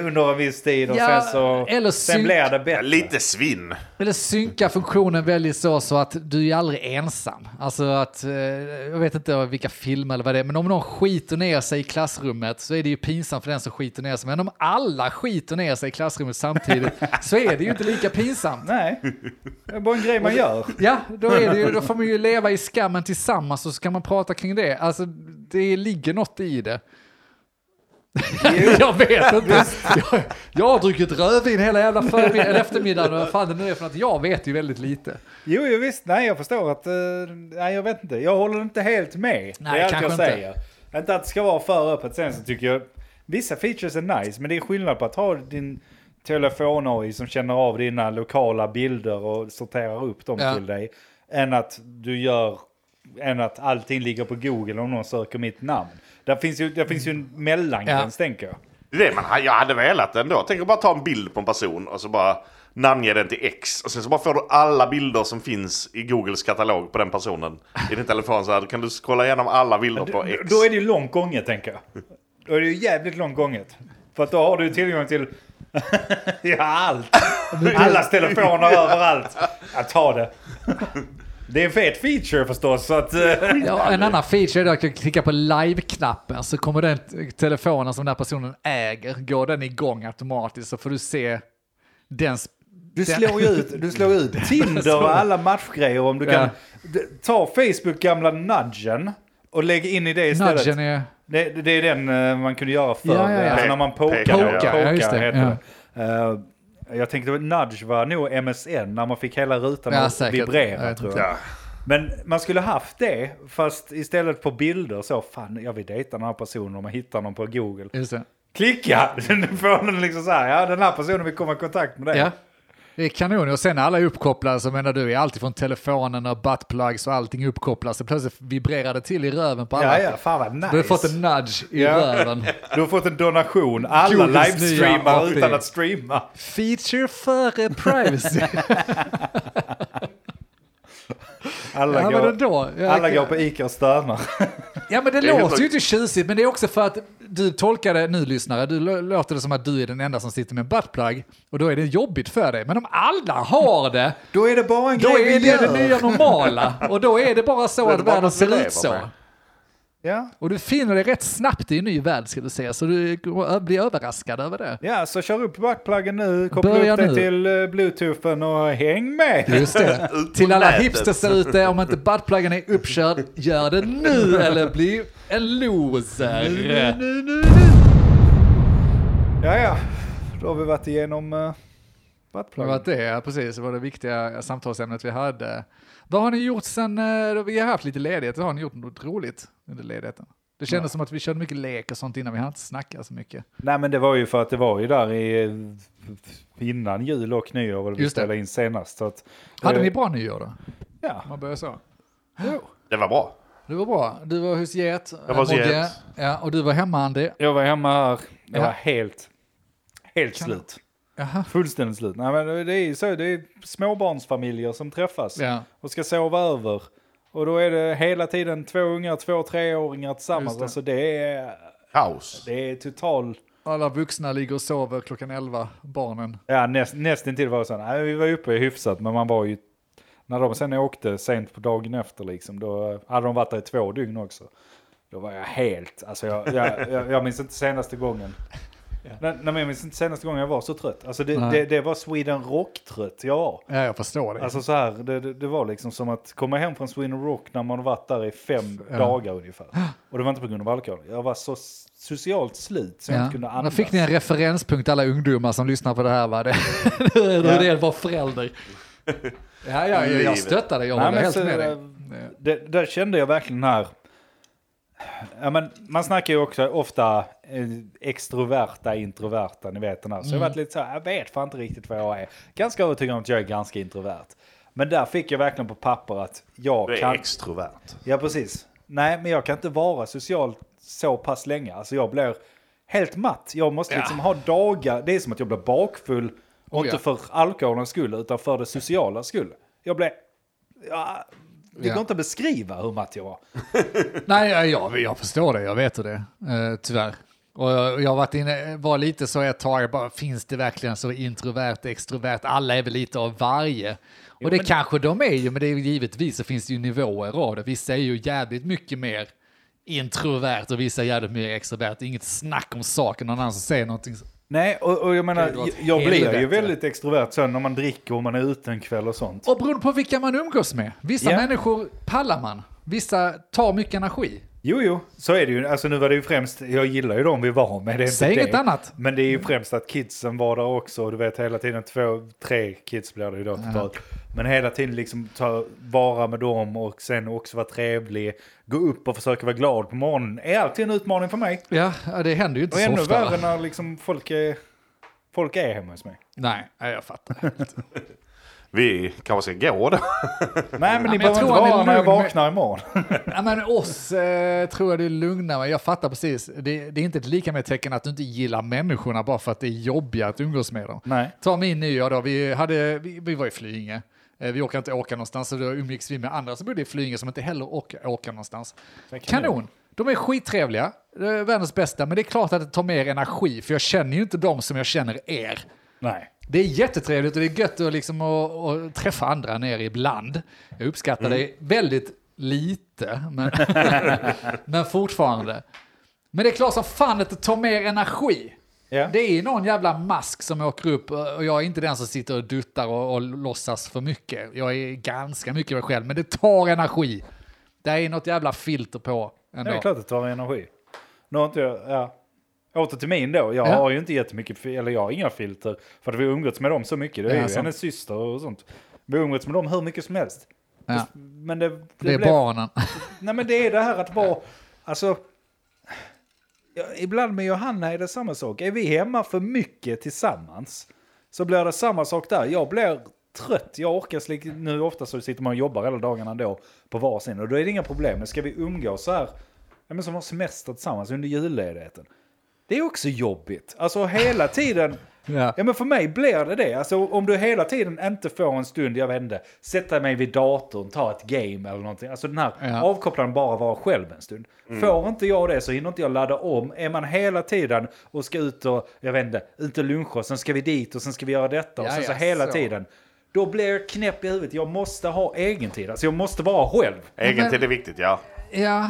Speaker 2: under en viss tid och
Speaker 1: Ja,
Speaker 2: sen så...
Speaker 1: eller
Speaker 2: sen
Speaker 1: synk.
Speaker 2: blir det
Speaker 3: Ja,
Speaker 2: bättre.
Speaker 3: Lite svinn.
Speaker 1: Eller synka funktionen väldigt så, så att du är aldrig ensam. Alltså att, eh, jag vet inte vilka filmer eller vad det är, men om någon skiter ner sig i klassrummet så är det ju pinsamt för den som skiter ner sig. Men om alla skiter ner sig i klassrummet samtidigt så är det ju inte lika pinsamt.
Speaker 2: Nej, det är bara en grej man gör.
Speaker 1: Ja, då, är det ju, då får man ju leva i skammen tillsammans och så kan man prata kring det. Alltså, det ligger något i det. jag vet inte. Jag, jag har druckit rödvin hela jävla förmiddagen, eller eftermiddagen och vad fan det nu är för att jag vet ju väldigt lite.
Speaker 2: Jo, jo visst, nej jag förstår att... eh, nej, jag vet inte. Jag håller inte helt med.
Speaker 1: Nej,
Speaker 2: det är allt
Speaker 1: kanske
Speaker 2: jag
Speaker 1: inte.
Speaker 2: säger. Inte. att det ska vara för öppet. Sen så tycker jag... Vissa features är nice, men det är skillnad på att ha din telefon-AI som känner av dina lokala bilder och sorterar upp dem
Speaker 1: Ja.
Speaker 2: till dig. Än att du gör... Än att allting ligger på Google om någon söker mitt namn. Där finns ju, där finns ju en mellangräns, tänker jag.
Speaker 3: Det är det man, jag hade velat ändå. Tänk att bara ta en bild på en person och så bara namnge den till X. Och sen så bara får du alla bilder som finns i Googles katalog på den personen. I din telefon så här, kan du scrolla igenom alla bilder på X.
Speaker 2: Då är det ju långt gånget, tänker jag. Då är det ju jävligt långt gånget. För att då har du tillgång till ja, allt. Allas telefoner överallt. Ja, ta det. Det är en fet feature förstås. Så att, eh,
Speaker 1: Ja, en annan feature är då att jag klickar på live-knappen så kommer den t- telefonen som den här personen äger, går den igång automatiskt så får du se den sp-
Speaker 2: du,
Speaker 1: den-
Speaker 2: slår ju ut, du slår ut Tinder och alla matchgrejer om du
Speaker 1: Ja.
Speaker 2: kan. D- Ta Facebook gamla nudgen och lägg in i det istället.
Speaker 1: nudgen är...
Speaker 2: Det, det är den eh, man kunde göra förr.
Speaker 1: Ja, ja, ja.
Speaker 2: Alltså när man pokade.
Speaker 3: Peka, ja.
Speaker 2: Poka,
Speaker 1: Ja, just det.
Speaker 2: heter det. Eh, jag tänkte att nudge var nog MSN när man fick hela rutan
Speaker 1: Ja,
Speaker 2: att
Speaker 1: säkert. Jag
Speaker 2: vibrera
Speaker 1: vet
Speaker 2: tror
Speaker 1: inte.
Speaker 2: jag.
Speaker 3: Ja.
Speaker 2: Men man skulle haft det, fast istället på bilder så, fan jag vill dejta den här personen om man hittar någon på Google.
Speaker 1: Just det.
Speaker 2: Klicka! Nu får den liksom så här, ja den här personen vill komma i kontakt med dig.
Speaker 1: Ja. Det är kanon. Och sen när alla är uppkopplade så menar du, är alltid från telefonen och buttplugs och allting uppkopplas. Så plötsligt vibrerar det till i röven på alla.
Speaker 2: Ja, ja, fan vad nice.
Speaker 1: Du har fått en nudge i
Speaker 2: Ja.
Speaker 1: röven.
Speaker 2: Du har fått en donation. Alla
Speaker 1: Googles nya
Speaker 2: livestreamar
Speaker 1: API.
Speaker 2: utan att streama.
Speaker 1: Feature före privacy.
Speaker 2: Alla,
Speaker 1: ja, men
Speaker 2: går,
Speaker 1: ändå. Ja,
Speaker 2: alla
Speaker 1: okej.
Speaker 2: går på Ica och stönar.
Speaker 1: Ja men det,
Speaker 3: är
Speaker 1: låter
Speaker 3: helt-
Speaker 1: ju inte tjusigt, men det är också för att du tolkar det, nu lyssnare, du lå- låter det som att du är den enda som sitter med en buttplug och då är det jobbigt för dig. Men om alla har det,
Speaker 2: Då är det bara en
Speaker 1: då
Speaker 2: grej
Speaker 1: är
Speaker 2: vi
Speaker 1: det det
Speaker 2: gör.
Speaker 1: nya normala. Och då är det bara så
Speaker 3: är
Speaker 1: att
Speaker 3: det bara
Speaker 1: världen
Speaker 3: något vi
Speaker 1: ser
Speaker 3: lever
Speaker 1: ut så.
Speaker 3: med.
Speaker 2: Ja.
Speaker 1: Och du finner det rätt snabbt i en ny värld ska du säga, så du ö- blir överraskad över det.
Speaker 2: ja, så kör upp backpluggen nu, koppla
Speaker 1: Börja
Speaker 2: upp dig
Speaker 1: nu.
Speaker 2: till eh, bluetoothen och häng med.
Speaker 1: Just det.
Speaker 3: Ut på
Speaker 1: Till alla
Speaker 3: nätet.
Speaker 1: hipsters där ute, om inte buttpluggen är uppkörd, gör det nu eller bli en loser.
Speaker 2: Ja, ja. Då har vi varit igenom uh,
Speaker 1: Det var det, ja, precis. Det var det viktiga samtalsämnet vi hade. Vad har ni gjort sen, eh, då vi har haft lite ledighet, har ni gjort något roligt under ledigheten? Det kändes som att vi körde mycket lek och sånt innan, vi hann inte snacka så mycket.
Speaker 2: Nej, men det var ju för att det var ju där i, eh, innan jul och nyår var det vi
Speaker 1: Just det.
Speaker 2: spelade in senast. Så att,
Speaker 1: Hade
Speaker 2: eh,
Speaker 1: ni bra nyår då? Om
Speaker 2: Ja.
Speaker 1: man börjar så.
Speaker 3: Det var bra.
Speaker 1: Det var bra. Du var hos get.
Speaker 3: Jag var hos
Speaker 1: eh, Mogge.
Speaker 3: get.
Speaker 1: Ja, och du var hemma Andy.
Speaker 2: Jag var hemma här. Jag
Speaker 1: Ja.
Speaker 2: var helt, helt
Speaker 1: Kan-
Speaker 2: slut.
Speaker 1: Jaha.
Speaker 2: Fullständigt slut. Nej, men det är ju så. Det är småbarnsfamiljer som träffas
Speaker 1: Ja.
Speaker 2: och ska sova över. Och då är det hela tiden två ungar, två treåringar tillsammans.
Speaker 1: Just det.
Speaker 2: Alltså det är,
Speaker 3: Kaos.
Speaker 2: det är total...
Speaker 1: Alla vuxna ligger och sover klockan 11, barnen.
Speaker 2: Ja, näst, nästintill var det så. Nej, vi var uppe hyfsat, men man var ju... När de sen åkte sent på dagen efter, liksom, då hade de varit där i två dygn också. Då var jag helt... Alltså jag, jag, jag, jag minns inte senaste gången. Nej, nej, men jag minns inte senaste gången jag var så trött. Alltså det,
Speaker 1: Nej.
Speaker 2: det, det var Sweden Rock-trött jag var.
Speaker 1: Ja, jag förstår det.
Speaker 2: Alltså så här, det, det, det var liksom som att komma hem från Sweden Rock när man varit där i fem
Speaker 1: Ja.
Speaker 2: dagar ungefär. Och det var inte på grund av alkohol. Jag var så s- socialt slut så jag
Speaker 1: Ja.
Speaker 2: inte kunde
Speaker 1: Då
Speaker 2: andas.
Speaker 1: fick ni en referenspunkt alla ungdomar som lyssnar på det här va? Det, hur är det att vara förälder? Ja, ja, jag, jag
Speaker 3: Livet.
Speaker 1: stöttar dig, jag
Speaker 2: Nej,
Speaker 1: håller
Speaker 2: men
Speaker 1: helt
Speaker 2: så- eh,
Speaker 1: med dig.
Speaker 2: Det, där kände jag verkligen här. Ja, men man snackar ju också ofta eh, extroverta, introverta, ni vet den här. Så jag varit
Speaker 1: Mm.
Speaker 2: lite så här, jag vet fan inte riktigt vad jag är. Ganska övertygad om att jag är ganska introvert. Men där fick jag verkligen på papper att jag
Speaker 3: Du är
Speaker 2: kan...
Speaker 3: extrovert.
Speaker 2: Ja, precis. Nej, men jag kan inte vara social så pass länge. Alltså jag blir helt matt. Jag måste liksom ha dagar. Det är som att jag blir bakfull. Och
Speaker 1: Oh, ja.
Speaker 2: inte för alkoholens skull, utan för det sociala skull. Jag blev... Ja, det
Speaker 1: Ja.
Speaker 2: går inte att beskriva hur matt jag var.
Speaker 1: Nej, jag, jag, jag förstår det, jag vet hur det är, eh, tyvärr. Och jag, jag har varit inne, var lite så ett tag, jag bara, finns det verkligen så introvert, extrovert, alla är väl lite av varje. Och det kanske de är ju, men det är ju givetvis så finns det ju nivåer av det. Vissa är ju jävligt mycket mer introvert och vissa är jävligt mer extrovert. Det är Inget snack om saken, någon annan som säger någonting.
Speaker 2: Nej, och, och jag menar,
Speaker 1: Det var
Speaker 2: jag,
Speaker 1: ett
Speaker 2: jag blir ju
Speaker 1: helvete.
Speaker 2: väldigt extrovert sen när man dricker och man är ute en kväll och sånt.
Speaker 1: Och beroende på vilka man umgås med. Vissa
Speaker 2: Ja.
Speaker 1: människor pallar man, vissa tar mycket energi.
Speaker 2: Jo, jo, så är det ju. Alltså nu var det ju främst, jag gillar ju dem vi var med. Det är inte
Speaker 1: Säg
Speaker 2: det.
Speaker 1: inget annat.
Speaker 2: Men det är ju främst att kidsen var där också. Och du vet hela tiden två, tre kids blir det ju då totalt. Men hela tiden liksom ta vara med dem och sen också vara trevlig. Gå upp och försöka vara glad på morgonen. är alltid en utmaning för mig.
Speaker 1: Ja, det händer ju inte
Speaker 2: Och
Speaker 1: så
Speaker 2: ännu
Speaker 1: ofta. va?
Speaker 2: värre när liksom folk är, folk är hemma hos mig.
Speaker 1: Nej, nej, jag fattar.
Speaker 3: Vi kanske ska gå då.
Speaker 2: Nej men ni
Speaker 1: jag
Speaker 2: behöver inte
Speaker 1: tror han är
Speaker 2: vara när jag
Speaker 1: lugn med-
Speaker 2: vaknar imorgon.
Speaker 1: Ja, men oss eh, tror jag du lugnar mig. Jag fattar precis. Det, det är inte ett lika med tecken att du inte gillar människorna bara för att det är jobbiga att umgås med dem.
Speaker 2: Nej.
Speaker 1: Ta min nyår då. Vi, hade, vi, vi var i Flyinge. Eh, Vi orkade inte åka någonstans så då umgicks vi med andra som bodde i Flyinge som inte heller orkar åka någonstans. Kanon! De är skittrevliga, Det är världens bästa, men det är klart att det tar mer energi för jag känner ju inte dem som jag känner er.
Speaker 2: Nej.
Speaker 1: Det är jättetrevligt och det är gött att, liksom att, att träffa andra nere ibland. Jag uppskattar
Speaker 2: Mm.
Speaker 1: det väldigt lite, men, men fortfarande. Men det är klart som fan att det tar mer energi.
Speaker 2: Ja.
Speaker 1: Det är någon jävla mask som åker upp och jag är inte den som sitter och duttar och, och låtsas för mycket. Jag är ganska mycket mig själv, men det tar energi. Det är något jävla filter på ändå.
Speaker 2: Det är klart det tar energi. Nu har inte jag, ja. Åter till min då. Jag
Speaker 1: Ja.
Speaker 2: har ju inte jättemycket, fi- eller jag har inga filter. För att vi har umgåtts med dem så mycket. Det är
Speaker 1: Ja,
Speaker 2: ju
Speaker 1: sant.
Speaker 2: hennes syster och sånt. Vi har umgåtts med dem hur mycket som helst.
Speaker 1: Ja.
Speaker 2: Men det, det,
Speaker 1: Det är
Speaker 2: blev-
Speaker 1: barnen.
Speaker 2: Nej men det är det här att vara, alltså. Ja, ibland med Johanna är det samma sak. Är vi hemma för mycket tillsammans så blir det samma sak där. Jag blir trött, jag orkar slik, nu ofta så sitter man och jobbar hela dagarna då på varsin och då är det inga problem. Men ska vi umgås så här, ja, men som har semester tillsammans under julledigheten. Det är också jobbigt. Alltså hela tiden,
Speaker 1: Ja.
Speaker 2: Ja men för mig blir det det. Alltså om du hela tiden inte får en stund, jag vet inte, sätta mig vid datorn, ta ett game eller någonting. Alltså den här
Speaker 1: Ja.
Speaker 2: avkopplaren bara vara själv en stund. Får inte jag det så hinner inte jag ladda om. Är man hela tiden och ska ut och, jag vet inte, ut och luncha och sen ska vi dit och sen ska vi göra detta och sen så
Speaker 1: Jaja,
Speaker 2: hela
Speaker 1: så.
Speaker 2: tiden. Då blir jag knäpp i huvudet. Jag måste ha egen tid. Alltså jag måste vara själv.
Speaker 3: Egen tid är viktigt, ja.
Speaker 1: Ja,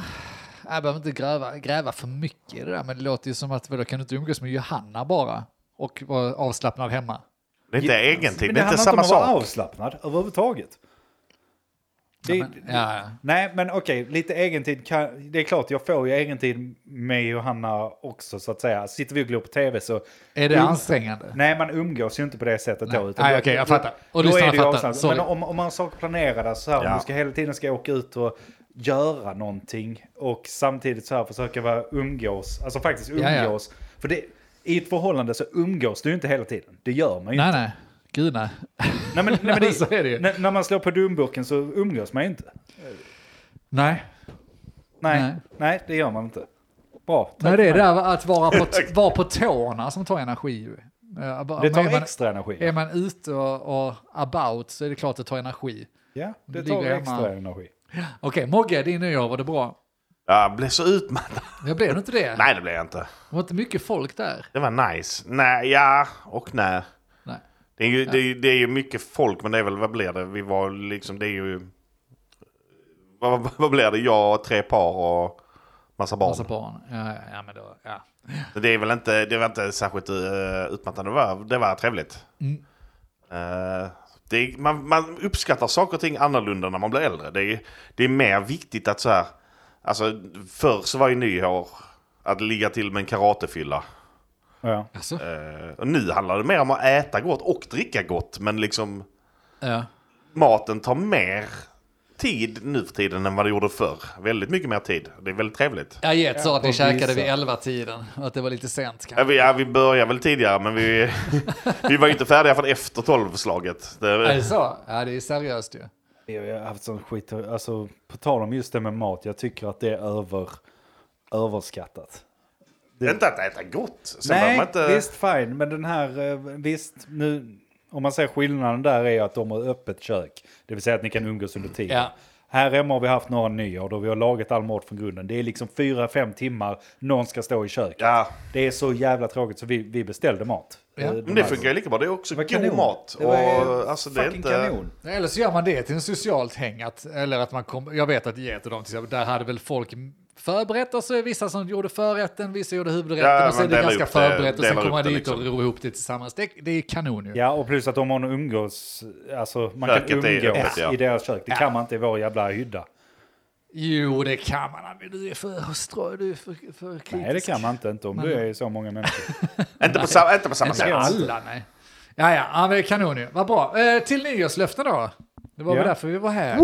Speaker 1: Äh, jag behöver inte gräva, gräva för mycket i det där, men det låter ju som att vadå, kan du inte umgås med Johanna bara och vara avslappnad hemma?
Speaker 3: Det är inte egen tid,
Speaker 2: Men
Speaker 3: det är
Speaker 2: handlar
Speaker 3: inte samma
Speaker 2: inte om att vara
Speaker 3: sak.
Speaker 2: avslappnad överhuvudtaget. Det,
Speaker 1: Ja, men, ja, ja.
Speaker 2: Nej, men okej, lite egentid. Kan, det är klart, jag får ju egentid med Johanna också så att säga. Sitter vi och glor på tv så...
Speaker 1: Är det
Speaker 2: Um-
Speaker 1: ansträngande?
Speaker 2: Nej, man umgås ju inte på det sättet då.
Speaker 1: Nej, okej, jag fattar. Och
Speaker 2: då
Speaker 1: lyssnarna
Speaker 2: är det ju
Speaker 1: fattar.
Speaker 2: avslappnat.
Speaker 1: Sorry.
Speaker 2: Men om, om man har saker planerade så här, om
Speaker 3: Ja.
Speaker 2: du ska hela tiden ska åka ut och göra någonting och samtidigt så här försöka vara umgås, alltså faktiskt
Speaker 1: ja.
Speaker 2: umgås. För det, i ett förhållande så umgås du ju inte hela tiden. Det gör man ju
Speaker 1: Nej, nej. Gud nej.
Speaker 2: Nej, men, nej, men det,
Speaker 1: Så är det ju.
Speaker 2: När, när man slår på dumburken så umgås man ju inte.
Speaker 1: Nej,
Speaker 2: Nej, nej.
Speaker 1: Nej.
Speaker 2: det gör man inte. Bra. tack
Speaker 1: nej
Speaker 2: för
Speaker 1: det är
Speaker 2: mig.
Speaker 1: det där att vara på, t- vara på tårna som tar energi. ju. Ja, bara-
Speaker 2: Det
Speaker 1: men
Speaker 2: tar
Speaker 1: är man,
Speaker 2: extra energi.
Speaker 1: Är man ute och, och about så är det klart det tar energi.
Speaker 2: ja, det
Speaker 1: du
Speaker 2: tar
Speaker 1: ligger
Speaker 2: extra
Speaker 1: hemma.
Speaker 2: energi.
Speaker 1: Okej, Mogge, din nyår, var det bra?
Speaker 3: Jag blev så utmattad.
Speaker 1: Jag blev nog inte det.
Speaker 3: Nej, det blev jag inte.
Speaker 1: Det var inte mycket folk där.
Speaker 3: Det var nice. Nej, ja och nej.
Speaker 1: Nej.
Speaker 3: Det är, ju, det, är, ju- det är ju mycket folk, men det är väl, vad blir det? Vi var liksom, det är ju... Vad, vad- vad blir det? Jag och tre par och massa barn.
Speaker 1: Massa Alltså barn. Ja, ja, ja, men då, ja.
Speaker 3: Det är väl inte, det var inte särskilt eh, utmattande. Det var, det var trevligt.
Speaker 1: Mm.
Speaker 3: Eh, det är, man, man uppskattar saker och ting annorlunda när man blir äldre. Det är, det är mer viktigt att så här... Alltså, förr så var ju nyår att ligga till med en karatefylla.
Speaker 2: Ja.
Speaker 1: Alltså,
Speaker 3: Eh, och nu handlar det mer om att äta gott och dricka gott. Men liksom
Speaker 1: ja.
Speaker 3: maten tar mer tid nu för tiden än vad det gjorde förr. Väldigt mycket mer tid. Det är väldigt trevligt.
Speaker 1: Jag get sa att
Speaker 2: och
Speaker 1: vi käkade
Speaker 2: vissa.
Speaker 1: vid 11-tiden och att det var lite sent
Speaker 3: Ja,
Speaker 1: kanske.
Speaker 3: vi, ja, vi började väl tidigare, men vi, vi var ju inte färdiga förrän efter tolvslaget.
Speaker 1: Är det
Speaker 3: Det,
Speaker 1: så? Ja, det är seriöst ju.
Speaker 2: Jag har haft sån skit, alltså på tal om just det med mat, jag tycker att det är över, överskattat. det-
Speaker 3: inte att äta gott. Sen behöver
Speaker 2: Nej,
Speaker 3: man inte,
Speaker 2: visst fine, men den här, eh, visst nu, om man säger skillnaden där är att de har öppet kök, det vill säga att ni kan umgås under tiden.
Speaker 1: Ja.
Speaker 2: Här hemma har vi haft några nyår då vi har lagat all mat från grunden. Det är liksom fyra, fem timmar, någon ska stå i köket.
Speaker 3: Ja,
Speaker 2: Det är så jävla tråkigt så vi, vi beställde mat.
Speaker 1: Ja.
Speaker 2: Eh,
Speaker 1: Men
Speaker 3: men
Speaker 2: de
Speaker 3: det
Speaker 2: här-
Speaker 3: funkar ju lika bra. Det är också
Speaker 2: Det var
Speaker 3: god
Speaker 2: kanon.
Speaker 3: mat.
Speaker 2: Det var
Speaker 3: Och, alltså, det är
Speaker 2: fucking
Speaker 3: inte,
Speaker 2: kanon.
Speaker 1: Eller så gör man det till en socialt häng. Att, eller att man kom, jag vet att get och de, till exempel, där hade väl folk förberett och så är vissa som gjorde förrätten, vissa gjorde huvudrätten
Speaker 3: Ja,
Speaker 1: och så
Speaker 3: man
Speaker 1: är det
Speaker 3: delar
Speaker 1: ganska
Speaker 3: upp det,
Speaker 1: förberett och sen
Speaker 3: delar
Speaker 1: kommer man
Speaker 3: upp det
Speaker 1: dit och
Speaker 3: liksom.
Speaker 1: ror ihop det tillsammans. Det, det är kanon ju.
Speaker 2: Ja, och plus att om man umgås, alltså man kan
Speaker 3: Köket är
Speaker 2: umgås
Speaker 3: öppet, ja.
Speaker 2: i deras kök. Det kan man inte i vår jävla hydda.
Speaker 1: Jo, det kan man. Men Du är för strö, du är för, för kritisk.
Speaker 2: Nej, det kan man inte, inte om du är så många människor.
Speaker 3: inte, på, sa- inte på samma
Speaker 1: Inte
Speaker 3: sätt.
Speaker 1: alla, nej. Ja, ja, ja, men det är kanon ju. Vad bra. Eh, till nyårslöften då. Det var
Speaker 2: Ja.
Speaker 1: väl därför vi var här.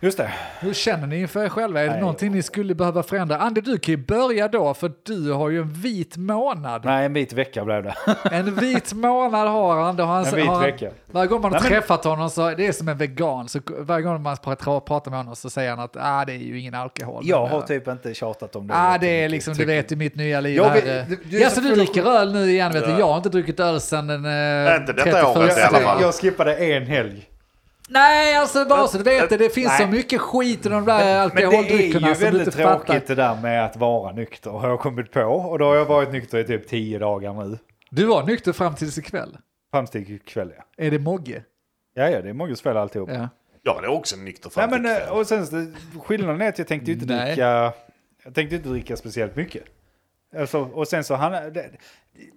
Speaker 2: Just det.
Speaker 1: Hur känner ni inför er själva? Är det
Speaker 2: Nej.
Speaker 1: någonting ni skulle behöva förändra? Andy, du kan ju börja då, för du har ju en vit månad.
Speaker 2: Nej, en vit vecka blev det.
Speaker 1: En vit månad har han. Då har han
Speaker 2: En vit
Speaker 1: har han-
Speaker 2: vecka.
Speaker 1: Varje gång man har
Speaker 2: Nej, men-
Speaker 1: träffat honom så det är som en vegan. Så varje gång man pra- pratar med honom så säger han att ah, det är ju ingen alkohol.
Speaker 2: Jag
Speaker 1: Men,
Speaker 2: har
Speaker 1: eh,
Speaker 2: typ inte tjatat om det.
Speaker 1: Ah, det är
Speaker 2: jättemycket,
Speaker 1: liksom, du
Speaker 2: tycker
Speaker 1: vet ju mitt nya liv.
Speaker 2: Jag
Speaker 1: här,
Speaker 2: vet-
Speaker 1: eh.
Speaker 2: du- du är
Speaker 1: ja,
Speaker 2: så
Speaker 1: så du
Speaker 2: full av-
Speaker 1: dricker öl nu igen vet du.
Speaker 3: Ja.
Speaker 1: Jag har inte druckit öl sedan den eh,
Speaker 3: Inte detta året i
Speaker 1: 31.
Speaker 3: alla fall.
Speaker 2: Jag, jag skippade en helg.
Speaker 1: Nej, alltså bara så du vet det, det finns så
Speaker 2: Nej.
Speaker 1: mycket skit i de där
Speaker 2: Men
Speaker 3: Alltså,
Speaker 2: det är ju
Speaker 1: alkoholdryckerna som du inte
Speaker 2: väldigt
Speaker 1: fattar.
Speaker 2: tråkigt det där med att vara nykter. Har jag kommit på. Och då har jag varit nykter i typ tio dagar nu.
Speaker 1: Du var nykter fram tills ikväll.
Speaker 2: Framstegskväll ja.
Speaker 1: Är det Mogge?
Speaker 2: Ja, ja, det är Mogges fel alltihop.
Speaker 1: Ja.
Speaker 3: Ja, det är också en nykter
Speaker 2: Nej, men, eh,
Speaker 3: framtidskväll.
Speaker 2: och sen, så- skillnaden är att jag tänkte ju inte
Speaker 1: Nej.
Speaker 2: dricka, jag tänkte inte dricka speciellt mycket. Alltså, och sen så han, det,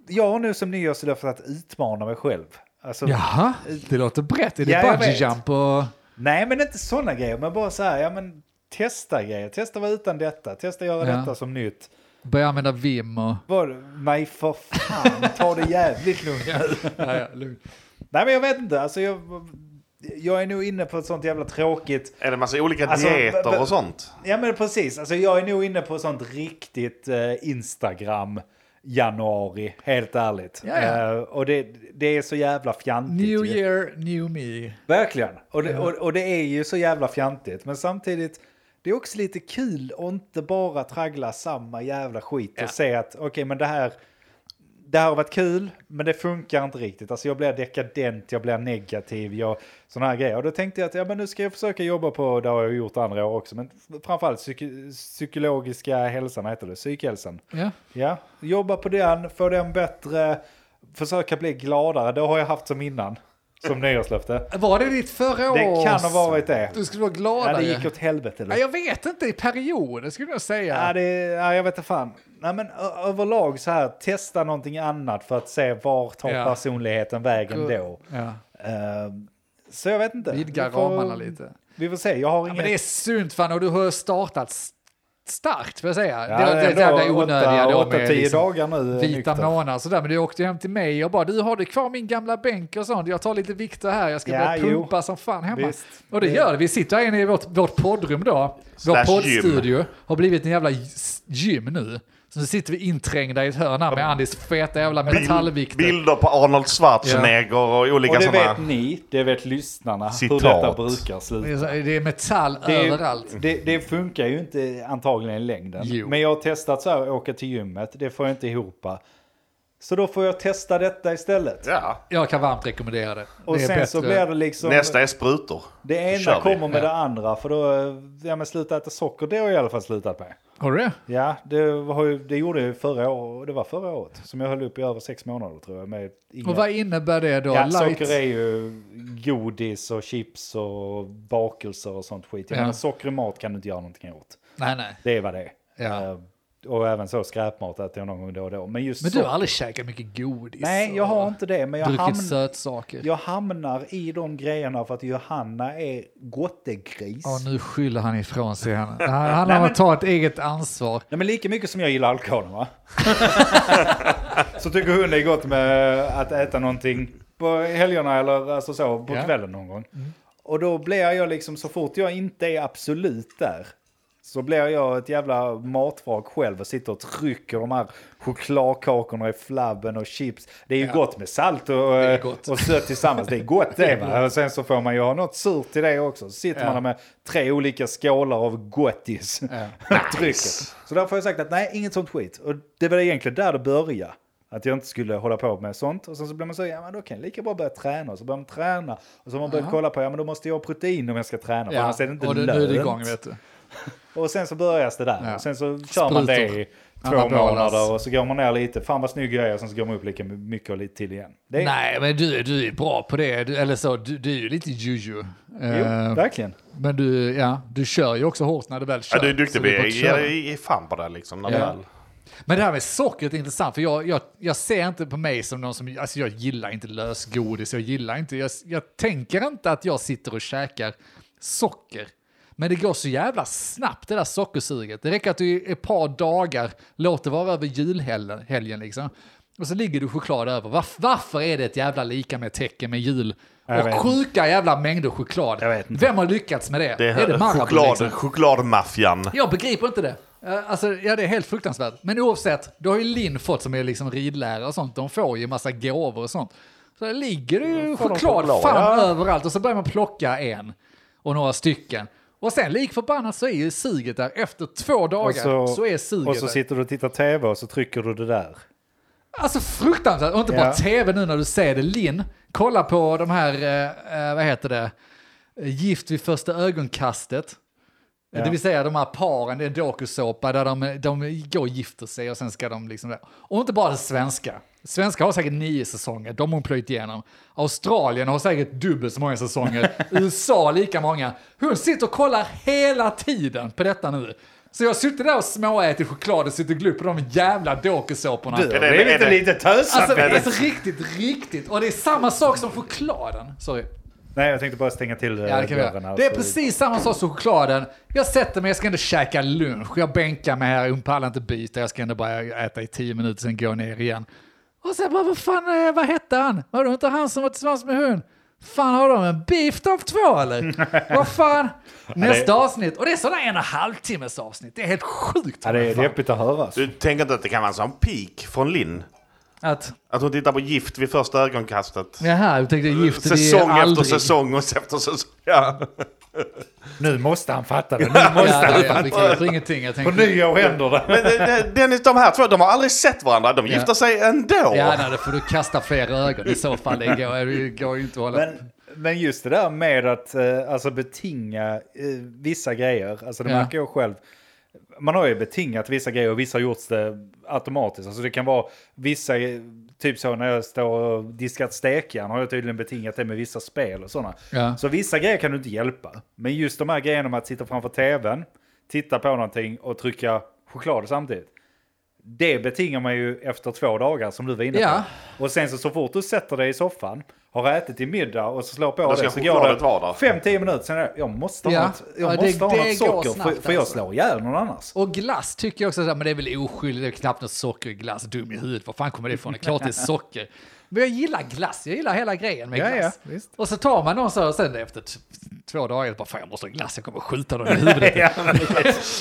Speaker 2: jag har nu som nyårslöfte att utmana mig själv. Alltså,
Speaker 1: Jaha, det låter brett. Är det
Speaker 2: Ja, jag
Speaker 1: bungee
Speaker 2: vet.
Speaker 1: jump och...
Speaker 2: Nej, men inte sådana grejer, men bara så här, ja men testa grejer, testa vara utan detta, testa göra
Speaker 1: Ja.
Speaker 2: detta som nytt.
Speaker 1: Börja använda Vim och...
Speaker 2: Var, nej för fan, ta det jävligt lugnt nu.
Speaker 1: Ja, ja, lugnt.
Speaker 2: Nej men jag vet inte, alltså jag, jag är nog inne på ett sånt jävla tråkigt,
Speaker 3: Är det massa olika
Speaker 2: Alltså, b- b-
Speaker 3: dieter och sånt?
Speaker 2: ja men precis, alltså jag är nog inne på ett sånt riktigt eh, Instagram januari, helt ärligt.
Speaker 1: Ja, ja.
Speaker 2: Eh, och det, det är så jävla fjantigt.
Speaker 1: New
Speaker 2: ju.
Speaker 1: year, new me.
Speaker 2: Verkligen, och det, och, och det är ju så jävla fjantigt, men samtidigt det är också lite kul att inte bara traggla samma jävla skit och se att okej men det här det här har varit kul, men det funkar inte riktigt. Alltså jag blir dekadent, jag blir negativ, jag, sådana här grejer. Och då tänkte jag att ja, men nu ska jag försöka jobba på, det har jag gjort andra år också, men framförallt psyk- psykologiska hälsan, heter det, psykhälsan.
Speaker 1: Ja.
Speaker 2: Ja, jobba på den, få den bättre, försöka bli gladare, det har jag haft som innan, som nyårslöfte.
Speaker 1: Var det ditt förra
Speaker 2: Det
Speaker 1: års-
Speaker 2: kan ha varit det.
Speaker 1: Du skulle vara
Speaker 2: Ja,
Speaker 1: gladare.
Speaker 2: det gick åt helvete.
Speaker 1: Ja,
Speaker 2: Eller?
Speaker 1: jag vet inte, i perioder skulle jag säga.
Speaker 2: Ja, det, ja, jag vet inte fan. Nej, men ö- överlag så här, testa någonting annat för att se var tar
Speaker 1: Ja.
Speaker 2: personligheten vägen
Speaker 1: Gud.
Speaker 2: då.
Speaker 1: Ja.
Speaker 2: Ehm, så jag vet inte.
Speaker 1: Vidga
Speaker 2: Vi får-
Speaker 1: ramarna lite.
Speaker 2: Vi får se, jag har
Speaker 1: Ja,
Speaker 2: inget...
Speaker 1: men det är synt fan och du har startat s- starkt får jag säga.
Speaker 2: Ja,
Speaker 1: det, det, är jävla
Speaker 2: ändå
Speaker 1: onödiga då
Speaker 2: åtta,
Speaker 1: med
Speaker 2: tio
Speaker 1: liksom
Speaker 2: dagar nu. eh,
Speaker 1: vita
Speaker 2: nykter.
Speaker 1: månader och sådär. Men du åkte ju hem till mig och bara du har det kvar min gamla bänk och sånt. Jag tar lite vikter här, jag ska
Speaker 2: Ja,
Speaker 1: börja
Speaker 2: jo.
Speaker 1: pumpa som fan hemma.
Speaker 2: Visst.
Speaker 1: Och det
Speaker 2: Det-
Speaker 1: gör det. Vi sitter här inne i vårt, vårt poddrum då. Vår
Speaker 3: Slash
Speaker 1: poddstudio har blivit en jävla s- gym nu. Så nu sitter vi inträngda i ett hörn här med Andis feta jävla
Speaker 3: Bild,
Speaker 1: metallvikter.
Speaker 3: bilder på Arnold Schwarzenegger och
Speaker 2: Och
Speaker 3: olika
Speaker 2: det
Speaker 3: sådana.
Speaker 2: vet ni, det vet lyssnarna,
Speaker 3: Citat.
Speaker 2: hur detta brukar sluta.
Speaker 1: Det är så- Det är metall
Speaker 2: Det,
Speaker 1: överallt.
Speaker 2: det, det funkar ju inte antagligen i längden.
Speaker 1: Jo.
Speaker 2: Men jag har testat så här, åka till gymmet, det får jag inte ihop. Så då får jag testa detta istället.
Speaker 3: Ja.
Speaker 1: Jag kan varmt rekommendera det.
Speaker 2: Och
Speaker 1: det är
Speaker 2: sen
Speaker 1: bättre.
Speaker 2: så blir det liksom,
Speaker 3: Nästa är sprutor.
Speaker 2: det
Speaker 3: Då
Speaker 2: ena
Speaker 3: kör vi.
Speaker 2: kommer med det andra. För då, eh, ja men sluta äta socker, det har jag i alla fall slutat med.
Speaker 1: Har du det?
Speaker 2: Ja, det, har ju, det gjorde jag ju förra året, det var förra året, som jag höll upp i över sex månader tror jag. Med inga,
Speaker 1: Och vad innebär det då?
Speaker 2: ja,
Speaker 1: Light?
Speaker 2: socker är ju godis och chips och bakelser och sånt skit. Jag
Speaker 1: Ja.
Speaker 2: menar, socker i mat kan du inte göra någonting åt.
Speaker 1: Nej, nej.
Speaker 2: Det var det.
Speaker 1: Ja.
Speaker 2: Eh, Och även så skräpmat äter jag någon gång då och då. Men just
Speaker 1: Men
Speaker 2: så,
Speaker 1: du har aldrig käkat mycket godis?
Speaker 2: Nej, jag har inte det. Men jag,
Speaker 1: druckit
Speaker 2: hamn,
Speaker 1: sötsaker?
Speaker 2: jag hamnar i de grejerna för att Johanna är gottegris.
Speaker 1: Ja, nu skyller han ifrån sig. Han Det handlar om att ta ett eget ansvar.
Speaker 2: Nej, men lika mycket som jag gillar alkohol, va? så tycker hon det är gott med att äta någonting på helgerna eller alltså så, på
Speaker 1: Ja. Mm.
Speaker 2: kvällen någon gång. Och då blir jag liksom, så fort jag inte är absolut där, så blir jag ett jävla matvrak själv och sitter och trycker de här chokladkakorna i flabben och chips. Det är ju gott med salt och,
Speaker 1: är
Speaker 2: eh,
Speaker 1: gott.
Speaker 2: och sött tillsammans. Det är gott det. Va? Och sen så får man ju ha något surt till det också. Så sitter man där med tre olika skålar av gottis. Trycket. Så därför har jag sagt att nej, inget sånt skit. Och det var egentligen där det började. Att jag inte skulle hålla på med sånt. Och sen så blev man så, ja men då kan jag lika bra börja träna. Och så börjar man träna. Och så har man börjat kolla på, ja men då måste jag ha protein om jag ska träna. För annars är det inte
Speaker 1: och nu nu är det
Speaker 2: lönt.
Speaker 1: igång, vet du.
Speaker 2: Och sen så börjas det där.
Speaker 1: Ja.
Speaker 2: Och sen så kör man det
Speaker 1: Sprutor.
Speaker 2: i två
Speaker 1: Anabolas.
Speaker 2: månader. Och så går man ner lite, fan vad snygg jag är. Och sen så går man upp lika mycket och lite till igen. Det är,
Speaker 1: Nej, men du, du är bra på det. Du, eller så, du, du är ju lite juju.
Speaker 2: Jo,
Speaker 1: Eh,
Speaker 2: verkligen.
Speaker 1: men du, ja, du kör ju också hårt när du väl kör.
Speaker 3: Ja, du är
Speaker 1: så
Speaker 3: duktig.
Speaker 1: det är bara att
Speaker 3: Vi
Speaker 1: köra.
Speaker 3: ger ge fan på det liksom. När
Speaker 1: Ja.
Speaker 3: väl.
Speaker 1: Men det här med sockret är intressant, för jag, jag, jag ser inte på mig som någon som, alltså jag gillar inte lösgodis, jag gillar inte, jag, jag tänker inte att jag sitter och käkar socker. Men det går så jävla snabbt det där sockersuget. Det räcker att du i ett par dagar låter vara över julhelgen helgen liksom. Och så ligger du choklad över. Varf, varför är det ett jävla lika med tecken med jul?
Speaker 2: Jag vet
Speaker 1: Och sjuka jävla mängder choklad.
Speaker 2: Jag vet inte.
Speaker 1: Vem har lyckats med det?
Speaker 3: Det är,
Speaker 1: Marabou,
Speaker 3: choklad,
Speaker 1: liksom?
Speaker 3: chokladmaffian.
Speaker 1: Jag begriper inte det. Eh, Alltså, ja, det är helt fruktansvärt. Men oavsett, då har ju Linn fått, som är liksom ridlärare och sånt, de får ju massa gåvor och sånt. Så där ligger det ju
Speaker 3: får de
Speaker 1: choklad
Speaker 3: choklad,
Speaker 1: fan
Speaker 3: ja.
Speaker 1: överallt och så börjar man plocka en och några stycken. Och sen lik förbannat så är ju suget där. Efter två dagar
Speaker 2: Och
Speaker 1: så,
Speaker 2: så,
Speaker 1: är suget
Speaker 2: och så
Speaker 1: där.
Speaker 2: sitter du och tittar tv och så trycker du det där.
Speaker 1: Alltså fruktansvärt. Och inte bara
Speaker 2: Ja.
Speaker 1: tv nu när du säger det. Linn, kolla på de här, eh, eh, vad heter det, Gift vid första ögonkastet. Det vill säga de här paren, det är en dokusåpa där de, de går och gifter sig och sen ska de liksom... Och inte bara det svenska. Svenska har säkert nio säsonger, de har hon plöjt igenom. Australien har säkert dubbelt så många säsonger. USA lika många. Hon sitter och kollar hela tiden på detta nu. Så jag har suttit där och småätit choklad och suttit och glott på de jävla dokusåporna.
Speaker 2: Du, det
Speaker 3: det-
Speaker 2: är
Speaker 3: är
Speaker 2: lite,
Speaker 3: det-
Speaker 2: lite tösat.
Speaker 1: Alltså,
Speaker 2: med det.
Speaker 1: alltså riktigt, riktigt. Och det är samma sak som chokladen. Sorry.
Speaker 2: Nej, jag tänkte bara stänga till eh,
Speaker 1: Ja, det, kan vi
Speaker 2: dörren.
Speaker 1: göra.
Speaker 2: här,
Speaker 1: det är
Speaker 2: så-
Speaker 1: precis samma sak som chokladen. Jag sätter mig, jag ska ändå käka lunch. Jag bänkar mig här, jag pallar inte byta. Jag ska ändå bara äta i tio minuter, sen går jag ner igen. Och sen bara, vad fan, eh, vad hette han? Var det inte han som var tillsammans med hon? Fan, har de en beef de två eller? vad fan? Nästa avsnitt. Och det är sådana en och en halv timmes avsnitt. Det är helt sjukt.
Speaker 2: Ja, det är deppigt att höra. alltså.
Speaker 3: Du tänker inte att det kan vara en sån peak från Linn?
Speaker 1: Att,
Speaker 3: Att hon tittar på Gift vid första ögonkastet.
Speaker 1: jaha, jag tänkte gift vi är
Speaker 3: Säsong efter
Speaker 1: aldrig.
Speaker 3: säsong och efter säsong. Ja.
Speaker 2: Nu måste han fatta det. Nu
Speaker 1: Ja,
Speaker 2: måste han.
Speaker 1: ja, ja, vi kan ingenting. Jag
Speaker 2: På
Speaker 1: tänkte,
Speaker 2: nyår händer det.
Speaker 3: Men det- det- Dennis, de här två, de har aldrig sett varandra. De gifter sig ändå.
Speaker 1: Ja, nej, det får du kasta fler ögon i så fall. Det går, det går ju inte att hålla...
Speaker 2: Men, men just det där med att eh, alltså betinga eh, vissa grejer, alltså det
Speaker 1: Ja.
Speaker 2: märker jag själv. Man har ju betingat vissa grejer och vissa har gjorts det automatiskt. Alltså det kan vara vissa, eh, typ så när jag står och diskat stekjärn har jag tydligen betingat det med vissa spel och sådana.
Speaker 1: Ja.
Speaker 2: Så vissa grejer kan du inte hjälpa. Men just de här grejerna med att sitta framför tvn, titta på någonting och trycka choklad samtidigt. Det betingar man ju efter två dagar som du var inne på.
Speaker 1: Ja.
Speaker 2: Och sen så, så fort du sätter dig i soffan, har ätit till middag och så slår på
Speaker 3: Då
Speaker 2: det
Speaker 3: ska
Speaker 2: så
Speaker 3: chokladen vara
Speaker 2: går
Speaker 3: där.
Speaker 2: det 5-10 minuter sen är det, jag måste ha
Speaker 1: Ja.
Speaker 2: något, jag
Speaker 1: Ja, det-
Speaker 2: måste ha något
Speaker 1: det går
Speaker 2: socker för,
Speaker 1: snabbt,
Speaker 2: för jag
Speaker 1: alltså.
Speaker 2: slår ihjäl någon annars.
Speaker 1: Och glass tycker jag också, så här, men det är väl oskyldigt, det är knappt något socker i glass, dum i huvudet, var fan kommer det ifrån? Det är klart det är socker. Men jag gillar glass, jag gillar hela grejen med
Speaker 2: Ja,
Speaker 1: glass.
Speaker 2: ja, visst.
Speaker 1: och så tar man någon så här, sen efter t- två dagar, bara fan jag måste ha glass, jag kommer skjuta dem i huvudet. ja,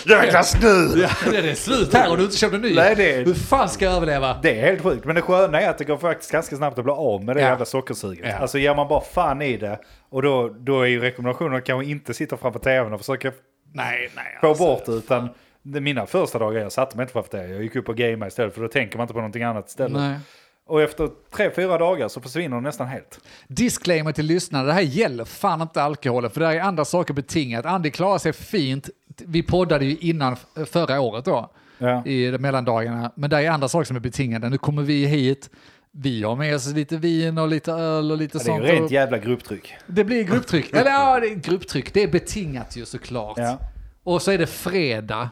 Speaker 3: Jäkla snö!
Speaker 1: det är slut här och du har inte köpt en ny.
Speaker 2: Nej, det är-
Speaker 1: Hur fan ska jag överleva?
Speaker 2: Det är helt sjukt, men det sköna är att det går faktiskt ganska snabbt att bli av med det
Speaker 1: Ja.
Speaker 2: jävla sockersuget.
Speaker 1: Ja.
Speaker 2: Alltså ger man bara fan i det, och då, då är ju rekommendationen att kanske inte sitta framför tvn och försöka
Speaker 1: Nej, nej. alltså.
Speaker 2: få bort det, utan det- mina första dagar jag satte mig inte framför tvn, jag gick upp och gamade istället, för då tänker man inte på någonting annat istället.
Speaker 1: Nej.
Speaker 2: Och efter tre, fyra dagar så försvinner de nästan helt.
Speaker 1: Disclaimer till lyssnarna, det här gäller fan inte alkoholen, för det här är andra saker betingat. Andy klarar sig fint, vi poddade ju innan f- förra året då,
Speaker 2: Ja.
Speaker 1: i de mellandagarna, men det är andra saker som är betingade. Nu kommer vi hit, vi har med oss lite vin och lite öl och lite
Speaker 2: Det är
Speaker 1: sånt.
Speaker 2: ju rent
Speaker 1: och
Speaker 2: jävla grupptryck.
Speaker 1: det blir grupptryck, eller ja, det är grupptryck, det är betingat ju såklart.
Speaker 2: Ja.
Speaker 1: Och så är det fredag.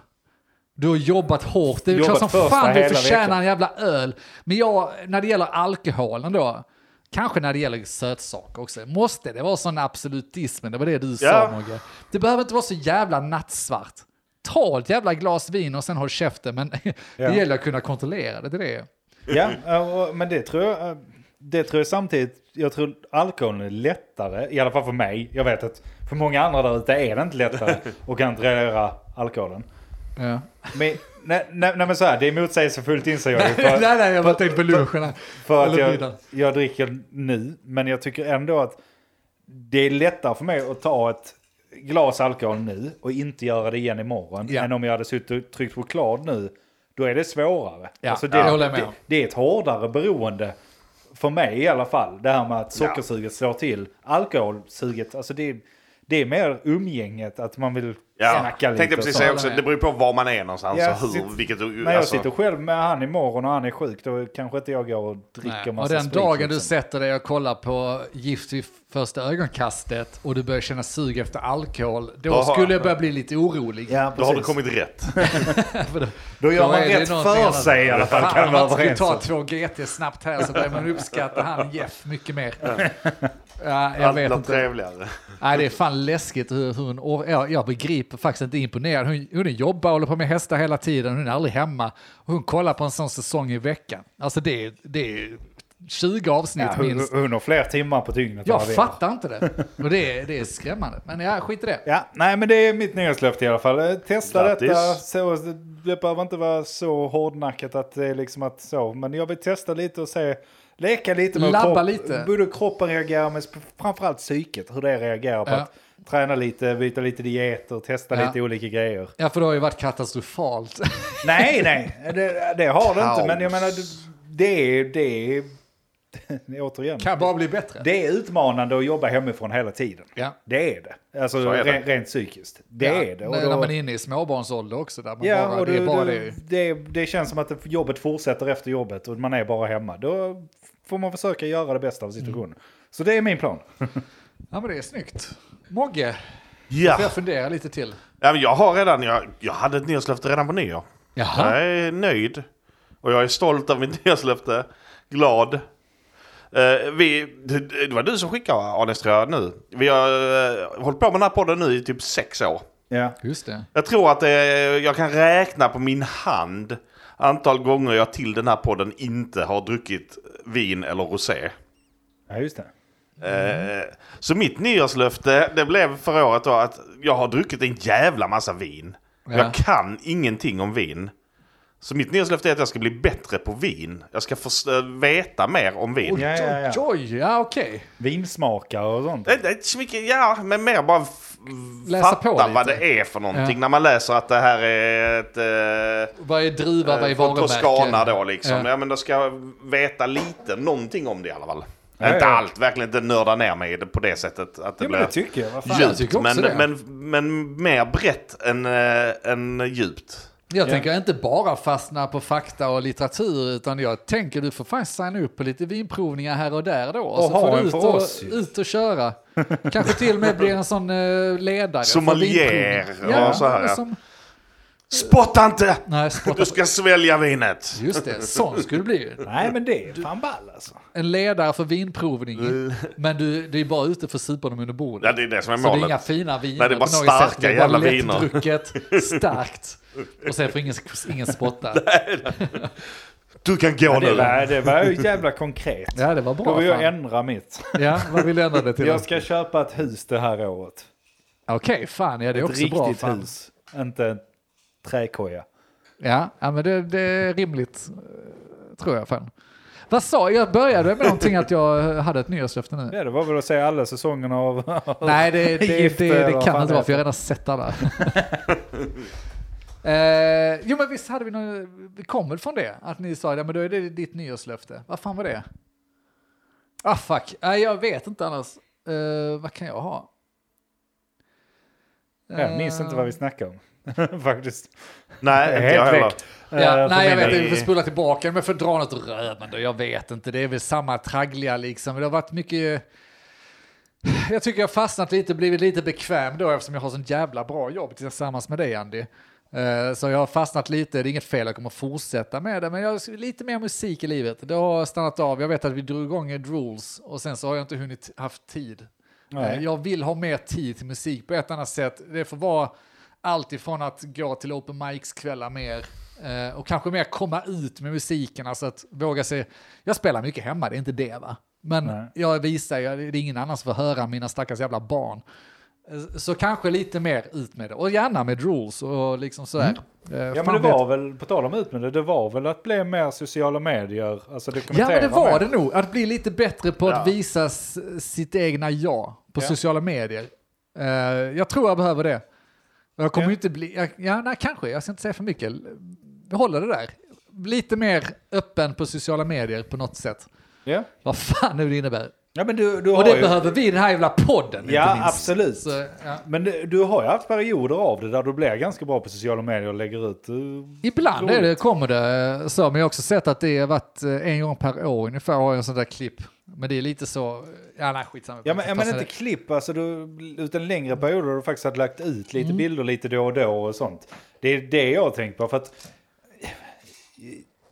Speaker 1: Du har jobbat hårt. Det är
Speaker 2: Jobbat
Speaker 1: klart som
Speaker 2: första
Speaker 1: fan du
Speaker 2: hela
Speaker 1: förtjänar
Speaker 2: veckan.
Speaker 1: en jävla öl. Men jag, när det gäller alkoholen då, kanske när det gäller sötsaker också, måste det vara sån absolutism? Det var det du
Speaker 3: Ja.
Speaker 1: sa Mogge. Det behöver inte vara så jävla nattsvart. Ta ett jävla glas vin och sen håll käften, men det
Speaker 2: Ja.
Speaker 1: gäller att kunna kontrollera det. det, är det.
Speaker 2: Ja, eh, och- men det tror jag... eh, Det tror jag samtidigt, jag tror alkoholen är lättare, i alla fall för mig. Jag vet att för många andra där ute är det inte lättare att kontrollera alkoholen.
Speaker 1: Ja.
Speaker 2: Men, nej, nej, nej men så här, det är motsägelsefullt inser jag ju. För,
Speaker 1: nej, nej, jag bara tänkte på lunchen. här.
Speaker 2: för att
Speaker 1: Eller
Speaker 2: jag,
Speaker 1: middagen.
Speaker 2: jag dricker nu, men jag tycker ändå att det är lättare för mig att ta ett glas alkohol nu och inte göra det igen imorgon.
Speaker 1: Ja.
Speaker 2: Än om jag hade suttit och tryckt choklad nu, då är det svårare. Alltså
Speaker 1: Ja,
Speaker 2: det,
Speaker 1: det håller jag med
Speaker 2: det,
Speaker 1: om.
Speaker 2: det är ett hårdare beroende, för mig i alla fall, det här med att sockersuget slår till. Alkoholsuget, alltså det, är- det är mer umgänget, att man vill
Speaker 3: Ja.
Speaker 2: snacka lite.
Speaker 3: Tänkte
Speaker 2: och
Speaker 3: precis
Speaker 2: så.
Speaker 3: säga också, det beror ju på var man är någonstans
Speaker 2: Ja,
Speaker 3: och hur,
Speaker 2: sitt-
Speaker 3: vilket...
Speaker 2: När jag
Speaker 3: alltså,
Speaker 2: sitter själv med han imorgon och han är sjuk, då kanske inte jag går och dricker
Speaker 1: Nej, Och
Speaker 2: massa
Speaker 1: den
Speaker 2: sprit,
Speaker 1: dagen
Speaker 2: liksom.
Speaker 1: du sätter dig och kollar på Gift vid första ögonkastet och du börjar känna sug efter alkohol, då
Speaker 3: Då har-
Speaker 1: skulle jag börja bli lite orolig.
Speaker 2: Ja,
Speaker 3: då har du
Speaker 2: precis.
Speaker 3: kommit rätt.
Speaker 2: Då gör
Speaker 1: Då
Speaker 2: man
Speaker 1: är det
Speaker 2: rätt
Speaker 1: någonting
Speaker 2: för
Speaker 1: annat.
Speaker 2: sig i alla fall. Kan
Speaker 1: Fan,
Speaker 2: vi
Speaker 1: om
Speaker 2: vara
Speaker 1: man skulle
Speaker 2: överens
Speaker 1: ta
Speaker 2: om.
Speaker 1: två GT snabbt här så börjar man uppskatta han Jeff mycket mer. Ja, jag vet
Speaker 3: Allt
Speaker 1: inte.
Speaker 3: trevligare.
Speaker 1: Nej, det är fan läskigt hur hur hon... och Jag, jag begriper faktiskt inte imponerad. Hon, hon jobbar och håller på med hästar hela tiden. Hon är aldrig hemma. Och hon kollar på en sån säsong i veckan. Alltså det, är- det är 20 avsnitt
Speaker 2: Ja,
Speaker 1: minst.
Speaker 2: hon- hon har fler timmar på dygnet. än vad vi
Speaker 1: Jag
Speaker 2: har.
Speaker 1: fattar inte det. Och det är, det är skrämmande. Men ja, skit i det.
Speaker 2: Ja, nej men det är mitt nyårslöfte i alla fall. Eh, Testa
Speaker 3: Grattis.
Speaker 2: detta. Så, det behöver inte vara så hårdnackat att det är liksom att så. Men jag vill testa lite och se. Leka lite med hur
Speaker 1: Labba lite.
Speaker 2: både hur kroppen reagerar men sp- framförallt psyket. Hur det reagerar på
Speaker 1: Ja.
Speaker 2: att träna lite, byta lite dieter, testa
Speaker 1: Ja.
Speaker 2: lite olika grejer.
Speaker 1: Ja, för det har ju varit katastrofalt.
Speaker 2: Nej, nej, det, det har det inte.
Speaker 3: Kaos.
Speaker 2: Men jag menar, det- det är, det är återigen.
Speaker 1: Kan bara bli bättre.
Speaker 2: Det är utmanande att jobba hemifrån hela tiden.
Speaker 1: Ja.
Speaker 2: Det är det. Alltså
Speaker 3: Så är det.
Speaker 2: Rent, rent psykiskt. Det
Speaker 1: Ja,
Speaker 2: är det. Och
Speaker 1: när-
Speaker 2: då-
Speaker 1: När man är inne i småbarnsålder också. Där man
Speaker 2: Ja,
Speaker 1: bara,
Speaker 2: och
Speaker 1: det är
Speaker 2: du-
Speaker 1: bara
Speaker 2: du-
Speaker 1: det.
Speaker 2: det, det känns som att det- jobbet fortsätter efter jobbet och man är bara hemma. Då får man försöka göra det bästa av situationen.
Speaker 1: Mm.
Speaker 2: Så det är min plan.
Speaker 1: Ja, men det är snyggt. Mogge,
Speaker 3: Ja.
Speaker 1: får jag fundera lite till?
Speaker 3: ja men jag har redan, jag, jag hade ett nyårslöfte redan på nyår.
Speaker 1: Jaha.
Speaker 3: Jag är nöjd. Och jag är stolt över mitt nyårslöfte. Glad. Eh, vi, det, det var du som skickade Anes tror jag nu. Vi har uh, hållit på med den här podden nu i typ sex år.
Speaker 2: Ja.
Speaker 1: Just det.
Speaker 3: Jag tror att eh, jag kan räkna på min hand antal gånger jag till den här podden inte har druckit vin eller rosé.
Speaker 2: ja, just det.
Speaker 3: Eh, Så mitt nyårslöfte, det blev förra året då att jag har druckit en jävla massa vin.
Speaker 1: Ja.
Speaker 3: Jag kan ingenting om vin. Så mitt nyårslöfte är att jag ska bli bättre på vin. Jag ska få eh, veta mer om vin.
Speaker 1: Oj,
Speaker 2: Ja, ja, ja.
Speaker 1: oj, oj, ja okej.
Speaker 2: Vinsmakare och sånt.
Speaker 3: Det, det är inte så mycket, ja, men mer bara f-
Speaker 1: Läsa på
Speaker 3: fatta
Speaker 1: lite.
Speaker 3: vad det är för någonting.
Speaker 1: Ja.
Speaker 3: När man läser att det här är ett... Eh,
Speaker 1: Vad är druva, vad är
Speaker 3: eh, från
Speaker 1: varumärke?
Speaker 3: Toscana då liksom.
Speaker 1: Ja.
Speaker 3: Ja. men då ska jag veta lite, någonting om det i alla fall.
Speaker 2: Ja,
Speaker 3: inte
Speaker 2: ja.
Speaker 3: allt, verkligen inte nörda ner mig i det på det sättet. Att det
Speaker 2: Ja, men
Speaker 3: blir...
Speaker 2: det tycker jag. Vad fan.
Speaker 1: Ja. jag
Speaker 3: djupt,
Speaker 1: tycker
Speaker 3: men,
Speaker 1: också det.
Speaker 3: men, men mer brett än, eh, än djupt.
Speaker 1: Jag tänker inte bara fastna på fakta och litteratur, utan jag tänker du får fan signa upp på lite vinprovningar här och där då. Och så
Speaker 2: ha
Speaker 1: får du
Speaker 2: en
Speaker 1: ut
Speaker 2: för
Speaker 1: och,
Speaker 2: oss ju.
Speaker 1: ut och köra. Kanske till och med bli en sån eh, ledare. för
Speaker 3: Sommelier
Speaker 1: vinprovning.
Speaker 3: och så här, ja.
Speaker 1: som-
Speaker 3: Spotta inte!
Speaker 1: Nej, spotta
Speaker 3: Du ska svälja vinet.
Speaker 1: Just det, sån skulle det bli.
Speaker 2: Nej, men det är fan ball alltså.
Speaker 1: En ledare för vinprovning, men du, du är bara ute för att supa dem under bordet.
Speaker 3: Mm. Ja, det är det som är
Speaker 1: Så det är
Speaker 3: målet.
Speaker 1: inga fina viner
Speaker 3: Nej, det är bara
Speaker 1: på något sätt.
Speaker 3: starka
Speaker 1: Det är bara
Speaker 3: jävla viner.
Speaker 1: lättdrucket, starkt. Och sen får ingen, ingen spotta.
Speaker 3: Du kan
Speaker 2: Det
Speaker 3: gå nu.
Speaker 2: var, det var ju jävla konkret.
Speaker 1: Ja, det var
Speaker 2: Då
Speaker 1: bra.
Speaker 2: vill jag
Speaker 1: fan.
Speaker 2: ändra mitt.
Speaker 1: Ja, vad vill du ändra det till?
Speaker 2: Jag ska köpa ett hus det här året.
Speaker 1: Okej, fan, ja det är
Speaker 2: Ett
Speaker 1: också bra.
Speaker 2: riktigt
Speaker 1: Fan.
Speaker 2: hus. Inte en träkoja.
Speaker 1: Ja, ja, men det, det är rimligt, eh, tror jag. Fan. Vad sa jag? Jag började med någonting att jag hade ett nyårslöfte nu.
Speaker 2: Ja, det var väl att säga alla säsongerna av...
Speaker 1: Nej, det, det, det,
Speaker 2: Gifte,
Speaker 1: det,
Speaker 2: vad
Speaker 1: kan
Speaker 2: fan
Speaker 1: inte
Speaker 2: det
Speaker 1: vara, för jag
Speaker 2: heter.
Speaker 1: har redan sett alla. Eh, jo, men visst hade vi någon, vi kom väl från det? Att ni sa, ja men då är det ditt nyårslöfte. Vad fan var det? Ah fuck, nej jag vet inte annars. Eh, vad kan jag ha?
Speaker 2: Jag minns inte vad vi snackade om. Faktiskt.
Speaker 3: Nej, inte jag heller.
Speaker 1: Ja,
Speaker 2: Eh, för
Speaker 1: nej, jag
Speaker 2: min
Speaker 1: vet
Speaker 2: del.
Speaker 1: inte, vi får spola tillbaka. Men för att dra något rövande, jag vet inte. Det är väl samma traggliga liksom. Det har varit mycket... Jag tycker jag har fastnat lite, blivit lite bekväm då eftersom jag har sånt jävla bra jobb tillsammans med dig Andy. Eh, Så jag har fastnat lite, det är inget fel, jag kommer fortsätta med det. Men jag har lite mer musik i livet. Det har stannat av. Jag vet att vi drog igång Ed Rules och sen så har jag inte hunnit haft tid.
Speaker 2: Nej.
Speaker 1: Eh, Jag vill ha mer tid till musik på ett annat sätt. Det får vara allt ifrån att gå till open mics-kvällar mer eh, och kanske mer komma ut med musiken, alltså att våga se. Jag spelar mycket hemma, det är inte det va? Men
Speaker 2: Nej.
Speaker 1: jag visar, jag, det är ingen annan som får höra mina stackars jävla barn. Eh, Så kanske lite mer ut med det, och gärna med rules och liksom sådär. Eh,
Speaker 2: Mm. Ja men
Speaker 1: fan
Speaker 2: det
Speaker 1: vet-
Speaker 2: var väl, på tal om ut med det, det var väl att bli mer sociala medier, alltså
Speaker 1: Ja
Speaker 2: dokumentera
Speaker 1: men det var
Speaker 2: mer.
Speaker 1: det nog, att bli lite bättre på att
Speaker 3: Ja.
Speaker 1: visa s- sitt egna jag
Speaker 2: Ja.
Speaker 1: på sociala medier. Eh, jag tror jag behöver det. Jag kommer
Speaker 2: Ja.
Speaker 1: ju inte bli, jag, ja nej, kanske, jag ska inte säga för mycket. Hålla det där. Lite mer öppen på sociala medier på något sätt.
Speaker 2: Ja,
Speaker 1: Vad fan nu det innebär.
Speaker 2: ja men du, du
Speaker 1: Och
Speaker 2: har
Speaker 1: det
Speaker 2: ju...
Speaker 1: behöver vi i den här jävla podden
Speaker 2: Ja,
Speaker 1: inte minst.
Speaker 2: absolut.
Speaker 1: Så, ja.
Speaker 2: Men du, du har ju haft perioder av det där du blir ganska bra på sociala medier och lägger ut... eh,
Speaker 1: Ibland är det,
Speaker 2: roligt.
Speaker 1: kommer det eh, så, men jag har också sett att det har varit eh, en gång per år ungefär har jag en sån där klipp. Men det är lite så, ja nej skitsamma.
Speaker 2: Ja men, ja, men
Speaker 1: Fastnar
Speaker 2: inte
Speaker 1: det.
Speaker 2: klipp, alltså du, utan längre perioder har du faktiskt har lagt ut
Speaker 1: Mm.
Speaker 2: lite bilder lite då och då och sånt. Det är det jag har tänkt på för att...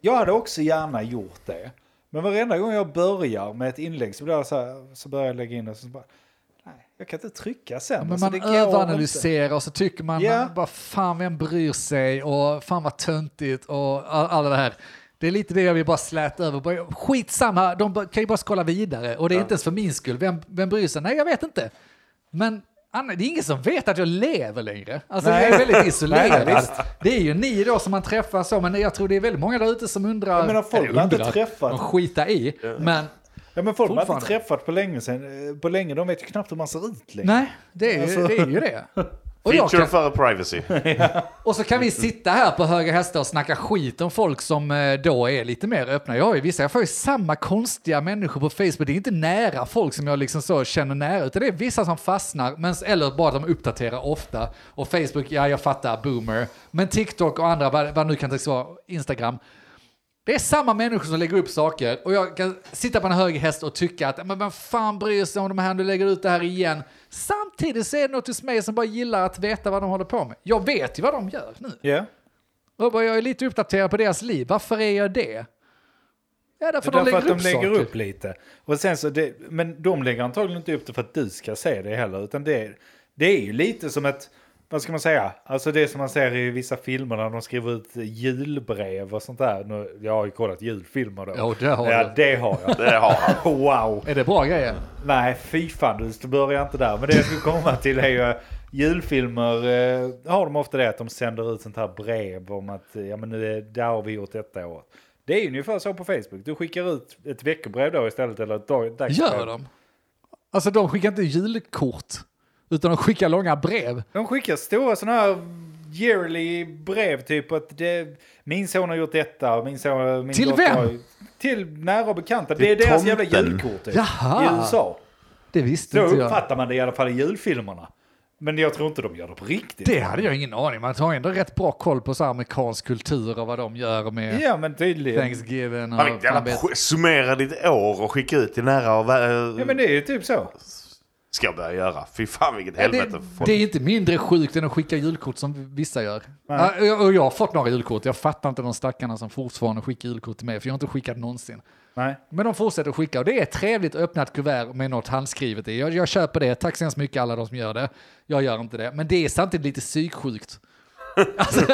Speaker 2: Jag hade också gärna gjort det. Men varenda gång jag börjar med ett inlägg så, blir jag så, här, så börjar jag lägga in och så bara... Nej, jag kan inte trycka sen.
Speaker 1: Men
Speaker 2: alltså,
Speaker 1: man
Speaker 2: det går inte.
Speaker 1: överanalyserar och så tycker man
Speaker 2: Ja.
Speaker 1: bara fan vem bryr sig och fan vad töntigt och all, alla det här. Det är lite det jag vill bara släta över. Bara, Skitsamma, de bara- kan ju bara skolla vidare och det är inte ens för min skull. Vem, vem bryr sig? Nej, jag vet inte. Men Anna, det är ingen som vet att jag lever längre. Alltså
Speaker 2: Nej.
Speaker 1: jag är väldigt isolerad.
Speaker 2: Nej, nej, visst.
Speaker 1: det är ju ni då som man träffar så, men jag tror det är väldigt många där ute som undrar.
Speaker 2: Jag menar, folk
Speaker 1: eller
Speaker 2: har inte
Speaker 1: undrar,
Speaker 2: träffat-
Speaker 1: De skitar i, men
Speaker 2: Ja men folk man har inte
Speaker 1: Fortfarande.
Speaker 2: träffat på länge sen, eh, på länge, de vet ju knappt hur man ser ut längre.
Speaker 1: nej, det är, ju-
Speaker 2: Alltså.
Speaker 1: det är ju det. Och, jag
Speaker 3: Feature
Speaker 1: kan,
Speaker 3: för privacy.
Speaker 1: och så kan vi sitta här på höga hästar och snacka skit om folk som eh, då är lite mer öppna. Jag har ju vissa, jag får ju samma konstiga människor på Facebook. Det är inte nära folk som jag liksom så känner nära, utan det är vissa som fastnar, men, eller bara de uppdaterar ofta. Och Facebook, ja jag fattar, boomer. Men TikTok och andra, vad, vad nu kan det vara, Instagram. Det är samma människor som lägger upp saker och jag kan sitta på en hög häst och tycka att men vem fan bryr sig om de här, nu lägger ut det här igen. Samtidigt så är det något hos mig som bara gillar att veta vad de håller på med. Jag vet ju vad de gör nu.
Speaker 2: Ja.
Speaker 1: Och bara, jag är lite uppdaterad på deras liv, varför är jag det? Ja, därför,
Speaker 2: Därför
Speaker 1: de lägger
Speaker 2: att de
Speaker 1: upp
Speaker 2: lägger
Speaker 1: saker.
Speaker 2: upp lite. Och sen så det, men de lägger antagligen inte upp det för att du ska se det heller. Utan det, är- det är ju lite som ett, vad ska man säga, alltså det som man ser i vissa filmer när de skriver ut julbrev och sånt där. Nu, jag har ju kollat julfilmer då.
Speaker 1: Ja, det har
Speaker 2: ja,
Speaker 1: du.
Speaker 2: det har jag.
Speaker 3: Det har han.
Speaker 2: Wow!
Speaker 1: Är det bra grejer?
Speaker 2: Nej, fy fan, du- du börjar inte där. Men det jag skulle komma till är ju eh, julfilmer eh, har de ofta det att de sänder ut sånt här brev om att eh, ja men det, det har vi gjort detta året. Det är ju ungefär så på Facebook. Du skickar ut ett veckobrev då istället eller ett dag, dagsbrev.
Speaker 1: Gör de? Alltså de skickar inte julkort, utan de skickar långa brev.
Speaker 2: De skickar stora sådana här yearly brev typ att det, min son har gjort detta och min son... Min
Speaker 1: Till
Speaker 2: dotter
Speaker 1: vem?
Speaker 2: har ju- till nära och bekanta. Det är
Speaker 3: Till
Speaker 2: deras jävla
Speaker 3: tomten.
Speaker 2: julkort typ,
Speaker 1: Jaha.
Speaker 2: i USA.
Speaker 1: Det visste
Speaker 2: Så
Speaker 1: inte jag.
Speaker 2: uppfattar man det i alla fall i julfilmerna. Men jag tror inte de gör det på riktigt.
Speaker 1: Det hade jag ingen aning om. Man har ändå rätt bra koll på så här amerikansk kultur och vad de gör med
Speaker 2: Ja, men tydligen.
Speaker 1: Thanksgiving och
Speaker 3: Han vill
Speaker 1: fan
Speaker 3: jävla
Speaker 1: vet.
Speaker 3: sk- summera ditt år och skicka ut till nära och vä-
Speaker 2: Ja, men det är ju typ så.
Speaker 3: Ska jag börja göra. Fy fan vilket helvete.
Speaker 1: det,
Speaker 3: folk.
Speaker 1: det är inte mindre sjukt än att skicka julkort som vissa gör. Ja, och jag- Och jag har fått några julkort. Jag fattar inte de stackarna som fortfarande skickar julkort till mig, för jag har inte skickat någonsin.
Speaker 2: Nej.
Speaker 1: Men de fortsätter att skicka och det är trevligt att öppna ett kuvert med något handskrivet i. Jag, jag köper det, tack så hemskt mycket alla de som gör det. Jag gör inte det, men det är samtidigt lite psyksjukt. Alltså,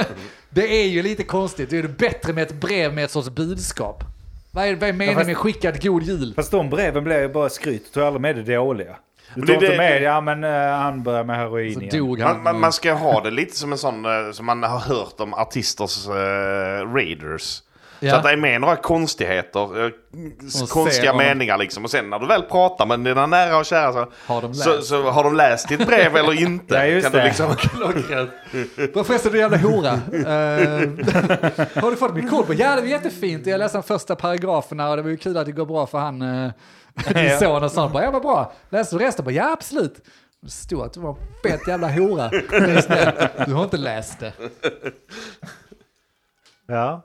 Speaker 1: det är ju lite konstigt, det är det bättre med ett brev med ett sorts budskap. Vad är, vad är meningen
Speaker 2: fast-
Speaker 1: med skickad god jul?
Speaker 2: Fast de breven blir ju bara skryt. Du tar aldrig med det dåliga. Du
Speaker 3: Men
Speaker 2: tar
Speaker 3: det-
Speaker 2: inte
Speaker 3: det-
Speaker 2: med, ja men eh, han börjar med heroin
Speaker 1: Så
Speaker 2: igen.
Speaker 1: dog
Speaker 3: Man,
Speaker 1: han.
Speaker 3: man, man ska ha det lite som en sån eh, som man har hört om artisters eh, raiders.
Speaker 1: Ja.
Speaker 3: Så att det är med några konstigheter, eh, s-
Speaker 1: Och ser
Speaker 3: konstiga
Speaker 1: vad de-
Speaker 3: meningar liksom. Och sen när du väl pratar med dina nära och kära så
Speaker 1: Har de läst?
Speaker 3: så, så har de läst ditt brev eller inte.
Speaker 2: Ja, just
Speaker 3: kan
Speaker 2: det.
Speaker 3: Du liksom,
Speaker 1: Vad Förresten, du jävla hora. Eh, har du fått min kod på? Ja, det var jättefint. Jag läste den första paragrafen här och det var ju kul att det går bra för han, eh, din
Speaker 2: Ja.
Speaker 1: son och sånt. Bara, ja, vad bra. Läste du resten? Bara, ja, absolut. Det stod att du var en fett jävla hora. Men det är snällt, Du har inte läst det.
Speaker 2: Ja.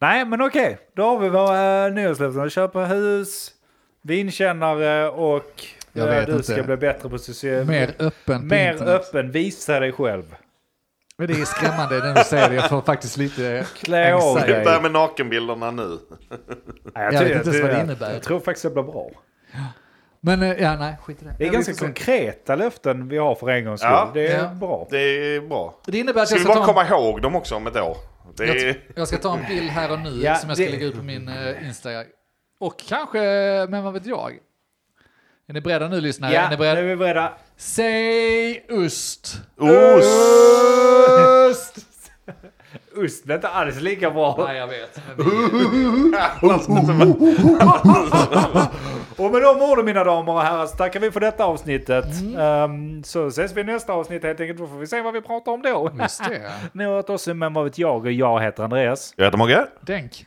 Speaker 2: Nej, men okej. Då har vi våra eh, nyårslöften. Köpa hus, vinkännare och
Speaker 1: Jag
Speaker 2: eh,
Speaker 1: vet
Speaker 2: du
Speaker 1: inte.
Speaker 2: ska bli bättre på social...
Speaker 1: Mer öppen på
Speaker 2: Mer
Speaker 1: internet.
Speaker 2: öppen. Visa dig själv.
Speaker 1: Men det är skrämmande när du säger det. Jag får faktiskt lite...
Speaker 2: Klä av
Speaker 1: Anxiety.
Speaker 2: dig.
Speaker 3: börja med nakenbilderna nu.
Speaker 2: Nej,
Speaker 1: Jag vet
Speaker 2: tror-
Speaker 1: inte ens vad det
Speaker 2: jag-
Speaker 1: innebär.
Speaker 2: Jag tror faktiskt det blir bra.
Speaker 1: Men eh, ja, nej, skit i det.
Speaker 2: Det är
Speaker 1: Ja,
Speaker 2: ganska
Speaker 1: vi får se.
Speaker 2: konkreta löften vi har för en gångs skull.
Speaker 3: Ja.
Speaker 2: Det är
Speaker 1: Ja.
Speaker 2: bra.
Speaker 3: Det är bra.
Speaker 1: Det innebär att
Speaker 3: Ska
Speaker 1: jag
Speaker 3: vi
Speaker 1: ska ta
Speaker 3: bara
Speaker 1: en
Speaker 3: komma ihåg dem också om ett år? Det
Speaker 1: Jag,
Speaker 3: är...
Speaker 1: t- jag ska ta en bild här och nu
Speaker 2: Ja,
Speaker 1: som jag ska
Speaker 2: det-
Speaker 1: lägga ut på min eh, Instagram. Och kanske, men vad vet jag? Är ni beredda nu lyssnare?
Speaker 2: Ja,
Speaker 1: Är ni
Speaker 2: nu är
Speaker 1: beredda?
Speaker 2: vi beredda.
Speaker 1: Säg ost!
Speaker 3: Ost!
Speaker 2: Ost blir inte alls lika bra.
Speaker 1: Nej, jag vet. men vi-
Speaker 2: Och med de orden mina damer och herrar så tackar vi för detta avsnittet. Ehm, så ses vi i nästa avsnitt helt enkelt. Då får vi se vad vi pratar om då.
Speaker 1: Just det.
Speaker 2: Ni har hört oss, i men vad vet jag och jag heter Andreas.
Speaker 3: Jag heter Mogge.
Speaker 1: Denk.